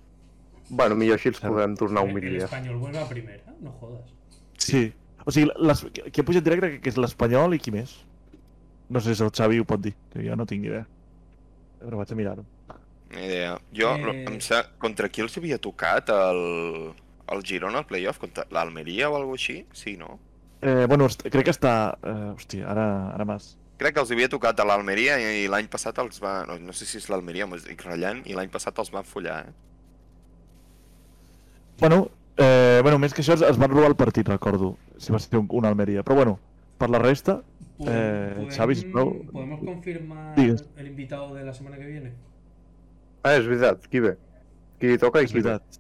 Speaker 4: Bueno, millor així els
Speaker 3: Claro.
Speaker 4: podem tornar un
Speaker 1: El- el
Speaker 4: milió.
Speaker 1: español vuelve a primera, no jodas.
Speaker 3: Sí. O sigui, les... qui ha pujat directe crec que és l'Espanyol i qui més? No sé si el Xavi ho pot dir, que jo no tinc ni idea. Però vaig a mirar-ho.
Speaker 2: Ni idea. Jo,
Speaker 1: Eh.
Speaker 2: lo- em sa... contra qui els havia tocat el, el Girona al playoff? Contra l'Almeria o alguna així? Sí, no?
Speaker 3: Eh, bueno, est- crec que està... Eh, hòstia, ara, ara m'has...
Speaker 2: Crec que els havia tocat a l'Almeria i, i l'any passat els va... No, no sé si és l'Almeria, m'ho estic ratllant, i l'any passat els van follar, eh?
Speaker 3: Bueno, eh, bueno, més que això, es, es van robar el partit, recordo. Si va ser un, un Almeria. Però bueno, per la resta... Eh,
Speaker 1: ¿Podem-
Speaker 3: Xavi, sisplau.
Speaker 1: ¿Podemos confirmar
Speaker 3: Digues.
Speaker 1: el invitado de la semana que viene?
Speaker 4: Ah, és veritat, qui ve? Qui li toca i
Speaker 3: És
Speaker 4: qui ve?
Speaker 3: veritat.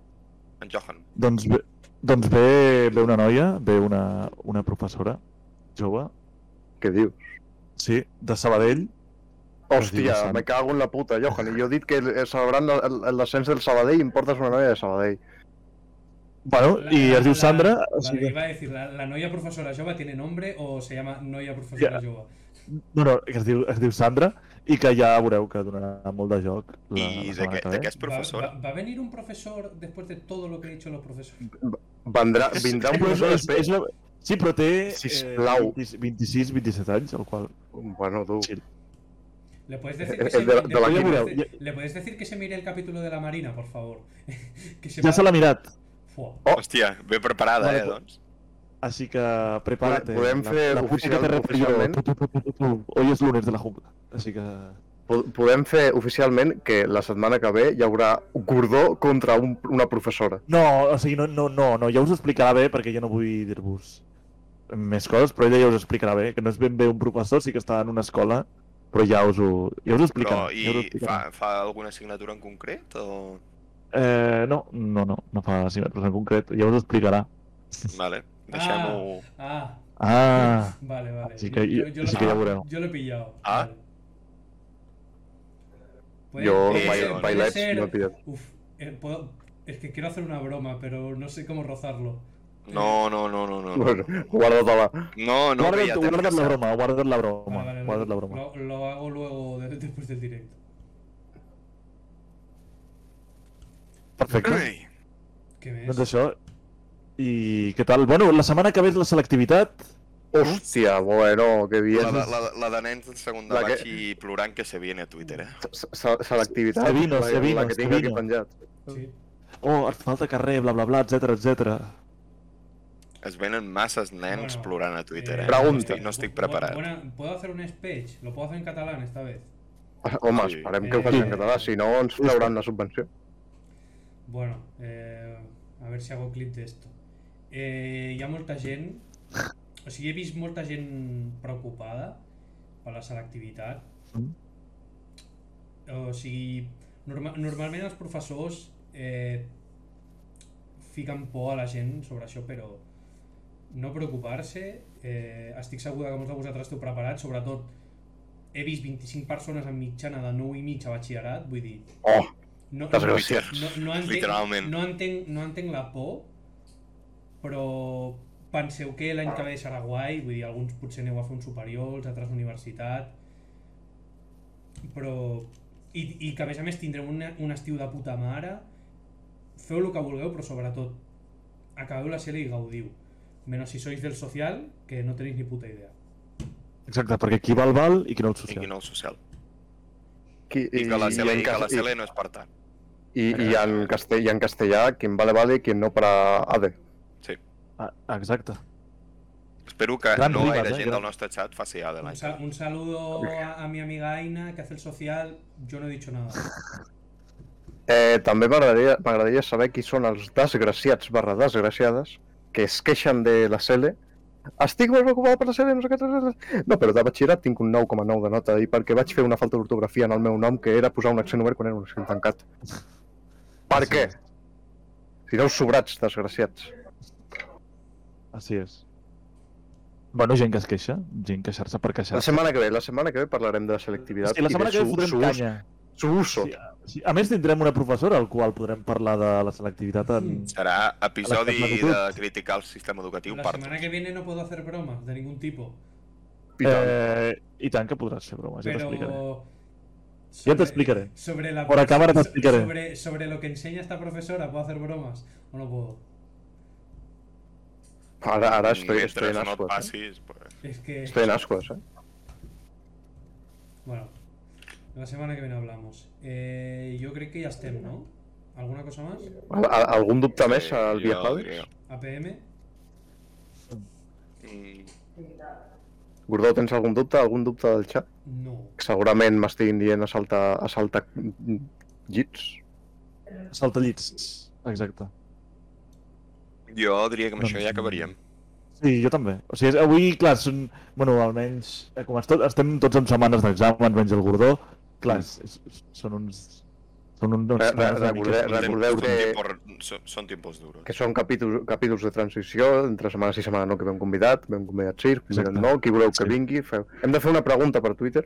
Speaker 2: En Johan.
Speaker 3: Doncs ve, doncs ve, ve una noia, ve una, una professora jove,
Speaker 4: Què diu?
Speaker 3: sí, de Sabadell.
Speaker 4: Hòstia,
Speaker 3: Dios,
Speaker 4: me
Speaker 3: sant.
Speaker 4: cago en la puta, Johan. I jo he dit que eh, celebrant el- el- l'ascens del Sabadell em portes una noia de Sabadell.
Speaker 3: Bueno,
Speaker 1: La-
Speaker 3: i
Speaker 1: la-
Speaker 3: es diu
Speaker 1: la-
Speaker 3: Sandra, o
Speaker 1: Vale,
Speaker 3: sigui que...
Speaker 1: iba a decir, ¿la, la Noia Profesora Jova tiene nombre o se llama Noia Profesora Jova?
Speaker 3: No, no, que es diu, es diu Sandra i que ja veureu que donarà molt de joc la,
Speaker 2: I
Speaker 3: la
Speaker 2: de
Speaker 3: setmana
Speaker 2: què,
Speaker 3: que
Speaker 2: de
Speaker 3: ve.
Speaker 2: què és
Speaker 1: ¿Va-
Speaker 2: professora?
Speaker 1: Va, va a venir un profesor después de todo lo que he dicho los profesores?
Speaker 4: Vendrà, vindrà un
Speaker 3: Però és, és,
Speaker 4: professor
Speaker 3: és
Speaker 4: després.
Speaker 3: una... Sí, però té eh,
Speaker 4: Sisplau.
Speaker 3: 26-27 anys, el qual...
Speaker 4: Bueno, du.
Speaker 3: Sí.
Speaker 1: ¿Le puedes decir
Speaker 4: El
Speaker 1: que se,
Speaker 4: de la-
Speaker 1: le
Speaker 4: de la
Speaker 1: puedes
Speaker 3: quimera.
Speaker 1: decir- le puedes decir que se mire el capítulo de la Marina, por favor? que se
Speaker 3: Ja se l'ha mirat,
Speaker 1: Fua.
Speaker 2: Oh! Hòstia, ben preparada,
Speaker 3: Vale,
Speaker 2: eh,
Speaker 3: po-
Speaker 2: doncs.
Speaker 3: així que prepara't. eh,
Speaker 4: Podem
Speaker 3: la-
Speaker 4: fer
Speaker 3: la puta
Speaker 4: oficial-
Speaker 3: que te refiero,
Speaker 4: oficialment?
Speaker 3: tu, tu, tu, tu, tu, tu. Hoy es lunes de la jungla, així que...
Speaker 4: Po- Podem fer oficialment que la setmana que ve hi haurà Gordó contra un, una professora.
Speaker 3: No, o sigui, no, no, no, no, ja us ho explicarà bé perquè jo no vull dir-vos més coses, però ella ja us ho explicarà bé, que no és ben bé un professor, sí que està en una escola, però ja us ho, ja us ho explicarà.
Speaker 2: Però,
Speaker 3: ja us ho
Speaker 2: i
Speaker 3: explicarà.
Speaker 2: fa, fa alguna assignatura en concret o...?
Speaker 3: Eh, no, no, no, no fa assignatura en concret, ja us ho explicarà.
Speaker 2: Vale, deixem-ho...
Speaker 1: Ah,
Speaker 3: Ah,
Speaker 1: vale, vale.
Speaker 3: Así que- así que ya veremos.
Speaker 1: yo lo he pillado.
Speaker 2: Ah.
Speaker 1: vale.
Speaker 4: Yo
Speaker 1: puede
Speaker 2: bail-
Speaker 1: ser- puede
Speaker 2: bailar,
Speaker 1: ser-
Speaker 4: no pillo.
Speaker 1: Uf, eh, puedo- es que quiero hacer una broma, pero no sé cómo rozarlo.
Speaker 2: No, no, no, no, no. no.
Speaker 4: Bueno, guarda-te-la.
Speaker 2: No, no, que
Speaker 3: guarda't,
Speaker 2: ja t'hem
Speaker 3: guarda't la
Speaker 2: passat.
Speaker 3: broma, guarda't la
Speaker 1: Ah, Vale,
Speaker 3: broma,
Speaker 1: vale,
Speaker 3: guarda't la
Speaker 1: lo-
Speaker 3: broma.
Speaker 1: Lo, lo hago luego de- después del directo.
Speaker 3: Perfecte,
Speaker 2: Ei,
Speaker 1: ¿Qué me
Speaker 3: doncs això. I què tal? Bueno, la setmana que ve és la selectivitat.
Speaker 4: Hòstia, bueno, que
Speaker 2: la,
Speaker 4: bien.
Speaker 2: de- la, de- la de nens en segon de
Speaker 4: La que-
Speaker 2: batx i plorant que se viene a Twitter, eh?
Speaker 4: Se- se- Selectivitat.
Speaker 3: Sevino,
Speaker 4: la-
Speaker 3: Sevino,
Speaker 4: La que tinc aquí
Speaker 3: Sevino.
Speaker 4: penjat.
Speaker 1: Sí.
Speaker 3: Oh, et falta carrer, bla, bla, bla, etc etc.
Speaker 2: Es venen masses nens
Speaker 1: Bueno,
Speaker 2: plorant a Twitter,
Speaker 1: Eh,
Speaker 2: eh?
Speaker 4: Pregunta.
Speaker 2: No estic, no estic
Speaker 1: bu- bu-
Speaker 2: preparat.
Speaker 1: buena- ¿Puedo hacer un speech? ¿Lo puedo hacer en catalán esta vez?
Speaker 4: Home,
Speaker 2: Sí.
Speaker 4: esperem que ho faci en
Speaker 3: Sí.
Speaker 4: català, si no ens trauran la subvenció.
Speaker 1: Bueno, eh, a ver si hago clip de esto. Eh, hi ha molta gent... O sigui, he vist molta gent preocupada per la selectivitat.
Speaker 3: Mm.
Speaker 1: O sigui, norma normalment els professors eh, fiquen por a la gent sobre això, però no preocupar-se. Eh, estic segur que molts de vosaltres esteu preparats, sobretot he vist 25 persones en mitjana de 9 i mig a batxillerat, vull dir...
Speaker 4: Oh,
Speaker 1: No, no,
Speaker 4: desgraciat.
Speaker 1: no, no entenc,
Speaker 2: Literalment.
Speaker 1: No entenc, no entenc la por, però penseu que l'any que ve serà guai, vull dir, alguns potser aneu a fer un superior, els altres universitat, però... I, i que a més a més tindrem un, un estiu de puta mare, feu el que vulgueu, però sobretot acabeu la sèrie i gaudiu. Menos si sois del social, que no tenéis ni puta idea.
Speaker 3: Exacte, perquè qui val, val i qui no el
Speaker 2: I
Speaker 3: social.
Speaker 2: qui no el social.
Speaker 4: Qui,
Speaker 2: I, que la
Speaker 4: en
Speaker 2: Cele, i, que
Speaker 4: cas-
Speaker 2: la Cele no és per tant.
Speaker 4: i, i, i en castell, i en castellà, quien vale vale, quien no para AD.
Speaker 3: Ah, exacte.
Speaker 2: Espero que
Speaker 3: Gran
Speaker 2: no
Speaker 3: ribes,
Speaker 2: gaire
Speaker 3: eh,
Speaker 2: gent
Speaker 3: gran.
Speaker 2: del nostre chat faci A de
Speaker 1: Un,
Speaker 2: l'any.
Speaker 1: sa- un saludo a, a mi amiga Aina, que hace el social. Yo no he dicho nada.
Speaker 4: Eh, també m'agradaria m'agradaria saber qui són els desgraciats barra desgraciades que es queixen de la CL. Estic molt preocupada per la CL, no sé què... no sé què". No, però de batxillerat tinc un 9,9 de nota i perquè vaig fer una falta d'ortografia en el meu nom que era posar un accent obert quan era un accent tancat. Per
Speaker 3: Així
Speaker 4: què?
Speaker 3: és.
Speaker 4: Tireu sobrats, desgraciats.
Speaker 3: Així és. Bueno, gent que es queixa, gent queixar-se per queixar-se.
Speaker 4: La setmana que ve, la setmana que ve parlarem de la selectivitat
Speaker 3: Hòstia, la setmana
Speaker 4: i
Speaker 3: que
Speaker 4: de
Speaker 3: ve fotrem
Speaker 4: su,
Speaker 3: canya.
Speaker 4: su, su uso.
Speaker 3: Sí, Sí, a més tindrem una professora al qual podrem parlar de la selectivitat en...
Speaker 2: Serà
Speaker 3: A la
Speaker 2: episodi
Speaker 3: magnitud.
Speaker 2: de criticar el sistema educatiu
Speaker 1: La
Speaker 2: part
Speaker 1: semana que viene no puedo hacer bromas de ningún tipo.
Speaker 4: I tant.
Speaker 3: Eh, I tant que podràs fer bromes, ja t'explicaré.
Speaker 1: Pero.
Speaker 3: Ya te explicaré.
Speaker 1: Sobre la,
Speaker 3: Por la cámara te explicaré.
Speaker 1: Sobre, sobre lo que enseña esta profesora, ¿puedo hacer bromas? O no puedo.
Speaker 4: Ara, ara estoy, estoy
Speaker 2: Mentre
Speaker 4: en
Speaker 2: no et
Speaker 4: ascuas. Eh?
Speaker 2: passis... pues,
Speaker 1: Es que.
Speaker 4: Estoy en ascuas, eh?
Speaker 1: Bueno, la semana que viene hablamos. Eh, yo creo que ya estén, ¿no? ¿Alguna cosa más?
Speaker 4: Al- al- Algun dubte més
Speaker 2: eh,
Speaker 4: al
Speaker 2: jo
Speaker 4: Viajades?
Speaker 2: diria-
Speaker 1: ¿APM?
Speaker 2: Mm,
Speaker 4: Gordó, tens algun dubte? Algun dubte del xat?
Speaker 1: No.
Speaker 4: Que Segurament m'estiguin dient a saltar, a saltar llits.
Speaker 3: Saltallits. Exacte.
Speaker 2: Jo diria que amb això
Speaker 3: Doncs-
Speaker 2: ja acabaríem.
Speaker 3: Sí, jo també. O sigui, és- avui, clar, són... Bueno, almenys, eh, com estot, estem tots en setmanes d'exàmens, menys el Gordó. Clar, és, és, són uns... Són uns...
Speaker 4: Re- re-
Speaker 3: setmanes una mica-
Speaker 4: recordeu- Recordeu
Speaker 2: Són
Speaker 4: que-
Speaker 2: tiempos- Són, són tiempos duros.
Speaker 4: Que són capítols, capítols de transició, entre setmana sí, setmana no, que vam convidat, vam convidat sí, convidat
Speaker 3: Exacte.
Speaker 4: no, qui voleu que
Speaker 3: Sí.
Speaker 4: vingui, feu... Hem de fer una pregunta per Twitter.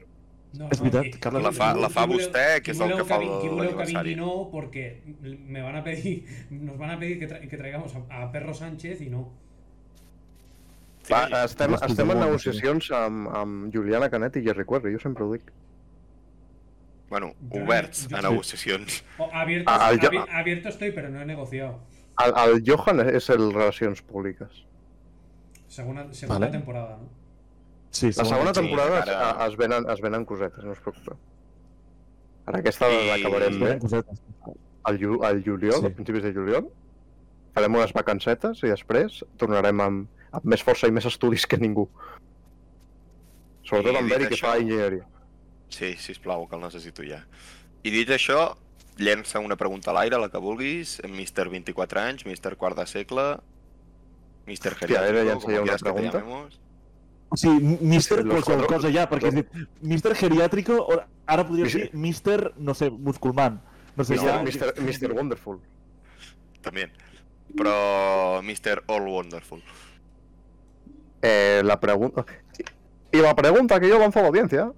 Speaker 1: no
Speaker 3: És veritat,
Speaker 1: que-
Speaker 3: Carles.
Speaker 2: La fa- la fa
Speaker 1: Yo voleu-
Speaker 2: vostè,
Speaker 1: yo
Speaker 2: que és el
Speaker 1: voleu
Speaker 2: que fa
Speaker 1: vi- yo
Speaker 2: el-
Speaker 1: voleu que
Speaker 2: l'aniversari.
Speaker 1: vingui no, porque me van a pedir, nos van a pedir que, tra- que traigamos a, a Perro Sánchez y no.
Speaker 2: Sí,
Speaker 4: Va, estem,
Speaker 3: Gràcies,
Speaker 4: estem en
Speaker 3: Ramon,
Speaker 4: negociacions amb, amb Juliana Canet i Jerry Cuerri, jo sempre ho dic.
Speaker 2: bueno, oberts
Speaker 1: Jo-
Speaker 2: a negociacions.
Speaker 1: O abierto,
Speaker 4: Ah, ah, ya-
Speaker 1: abi- abierto estoy, pero no he negociado.
Speaker 4: El, el Johan és el Relacions Públiques.
Speaker 1: Segunda, segunda
Speaker 3: Vale.
Speaker 1: temporada, ¿no?
Speaker 3: Sí,
Speaker 4: La segona
Speaker 2: sí,
Speaker 4: temporada es,
Speaker 2: ara-
Speaker 4: es, venen, es venen cosetes, no us preocupeu. Ara aquesta
Speaker 2: I-
Speaker 4: l'acabarem eh? bé.
Speaker 3: Esperen cosetes.
Speaker 4: al, ju al juliol,
Speaker 3: Sí.
Speaker 4: sí. a principis de juliol. Farem unes vacancetes i després tornarem amb, amb més força i més estudis que ningú. Sobretot
Speaker 2: I
Speaker 4: en
Speaker 2: dit
Speaker 4: Beri, que
Speaker 2: això-
Speaker 4: fa enginyeria.
Speaker 2: Sí, sisplau, que el necessito ja. I dit això, llença una pregunta a l'aire, la que vulguis, Mr. 24 anys, Mr. Quart de segle, Mr.
Speaker 4: a veure,
Speaker 2: Geriátrico,
Speaker 4: llença ja una
Speaker 2: quieras que te
Speaker 4: pregunta.
Speaker 2: llamemos.
Speaker 3: Sí, mister
Speaker 4: Sí, los
Speaker 3: qualsevol
Speaker 4: cuatro-
Speaker 3: cosa ja, perquè has dit mister geriàtrico, o ara podria
Speaker 4: Sí, sí.
Speaker 3: dir mister, no sé, musculman. No sé,
Speaker 4: Mister,
Speaker 3: ja...
Speaker 4: Mister, Mister Wonderful.
Speaker 2: També. Però Mr. All Wonderful.
Speaker 4: Eh, la pregunta... Y la pregunta que yo lanzo a la audiencia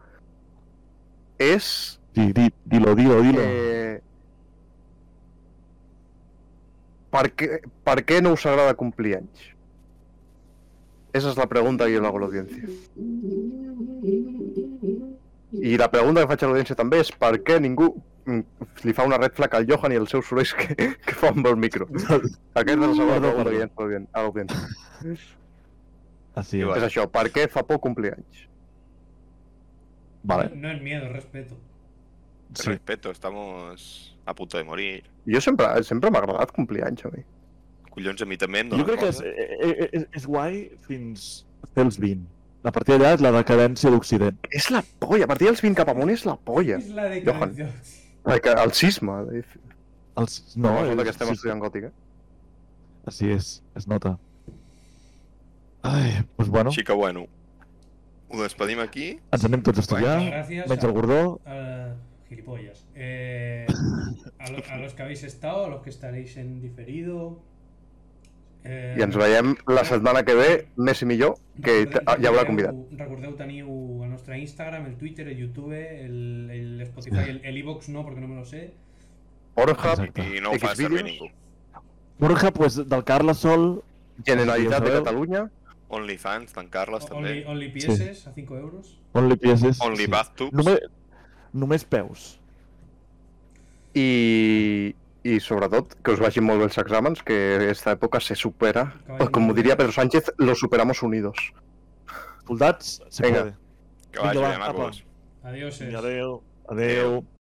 Speaker 4: es...
Speaker 3: Di, di, dilo, dilo, dilo.
Speaker 4: Eh, per, què, per què no us agrada complir anys? Esa és la pregunta que jo hago a l'audiència. I la pregunta que faig a l'audiència també és per què ningú mm, li fa una red flag al Johan i els seus sorolls que, que fa amb el micro. Aquesta és la segona
Speaker 3: Perdó,
Speaker 4: pregunta
Speaker 3: perdó.
Speaker 4: que llenço a l'audien- a l'audiència.
Speaker 3: Així
Speaker 2: Igual.
Speaker 3: és.
Speaker 4: És això, per què fa por complir anys?
Speaker 3: Vale,
Speaker 1: No es miedo, es respeto.
Speaker 3: sí.
Speaker 2: Respeto, estamos a punto de morir.
Speaker 4: Jo sempre, sempre m'ha agradat complir anys a mi.
Speaker 2: Collons, a mi també em dóna
Speaker 3: Jo crec que és,
Speaker 2: cosa.
Speaker 3: és, és, és guai fins fer els 20. A partir d'allà és la decadència d'Occident.
Speaker 4: És la polla, a partir dels 20 cap amunt és la polla.
Speaker 1: Es la de
Speaker 4: Johan. Like, el sisme. eh?
Speaker 3: Els... No,
Speaker 4: No, resulta
Speaker 3: és,
Speaker 4: que estem
Speaker 3: sí,
Speaker 4: estudiant gòtic, eh?
Speaker 3: Així és, es nota. Ai, doncs bueno,
Speaker 2: Així que bueno, ho despedim aquí.
Speaker 3: ens anem tots a estudiar,
Speaker 1: Bueno, gràcies.
Speaker 3: menys el gordó,
Speaker 1: Ah, gilipollas. Eh, a, lo- a los que habéis estado, a los que estaréis en diferido. Eh,
Speaker 4: I ens veiem la setmana que ve, més i millor, que ah,
Speaker 1: recordeu-
Speaker 4: t- hi haurà
Speaker 1: recordeu-
Speaker 4: convidat.
Speaker 1: Recordeu teniu a nuestra Instagram, el Twitter, el YouTube, el, el Spotify, el, el iVoox no, porque no me lo sé.
Speaker 4: Pornhub,
Speaker 3: Exacte.
Speaker 2: I no ho fa
Speaker 4: Xvideos.
Speaker 2: servir ningú.
Speaker 3: Borja, pues, del Carles Sol,
Speaker 4: Generalitat de
Speaker 3: Sabeu?
Speaker 4: Catalunya,
Speaker 2: OnlyFans, tancar-les també.
Speaker 1: Only, OnlyPS a 5 euros.
Speaker 3: Only Pieces.
Speaker 2: Only Bathtubs.
Speaker 3: Només, només peus.
Speaker 4: i, i sobretot que us vagin molt bé els exàmens, que esta època se supera, o com ho diria Pedro Sánchez, lo superamos unidos.
Speaker 3: Soldats, se
Speaker 4: Vinga.
Speaker 3: puede.
Speaker 2: Que vagi
Speaker 3: Vinga,
Speaker 2: bé,
Speaker 3: va, apa.
Speaker 2: macos.
Speaker 1: Adiós. eh.
Speaker 3: Adeu. Adeu.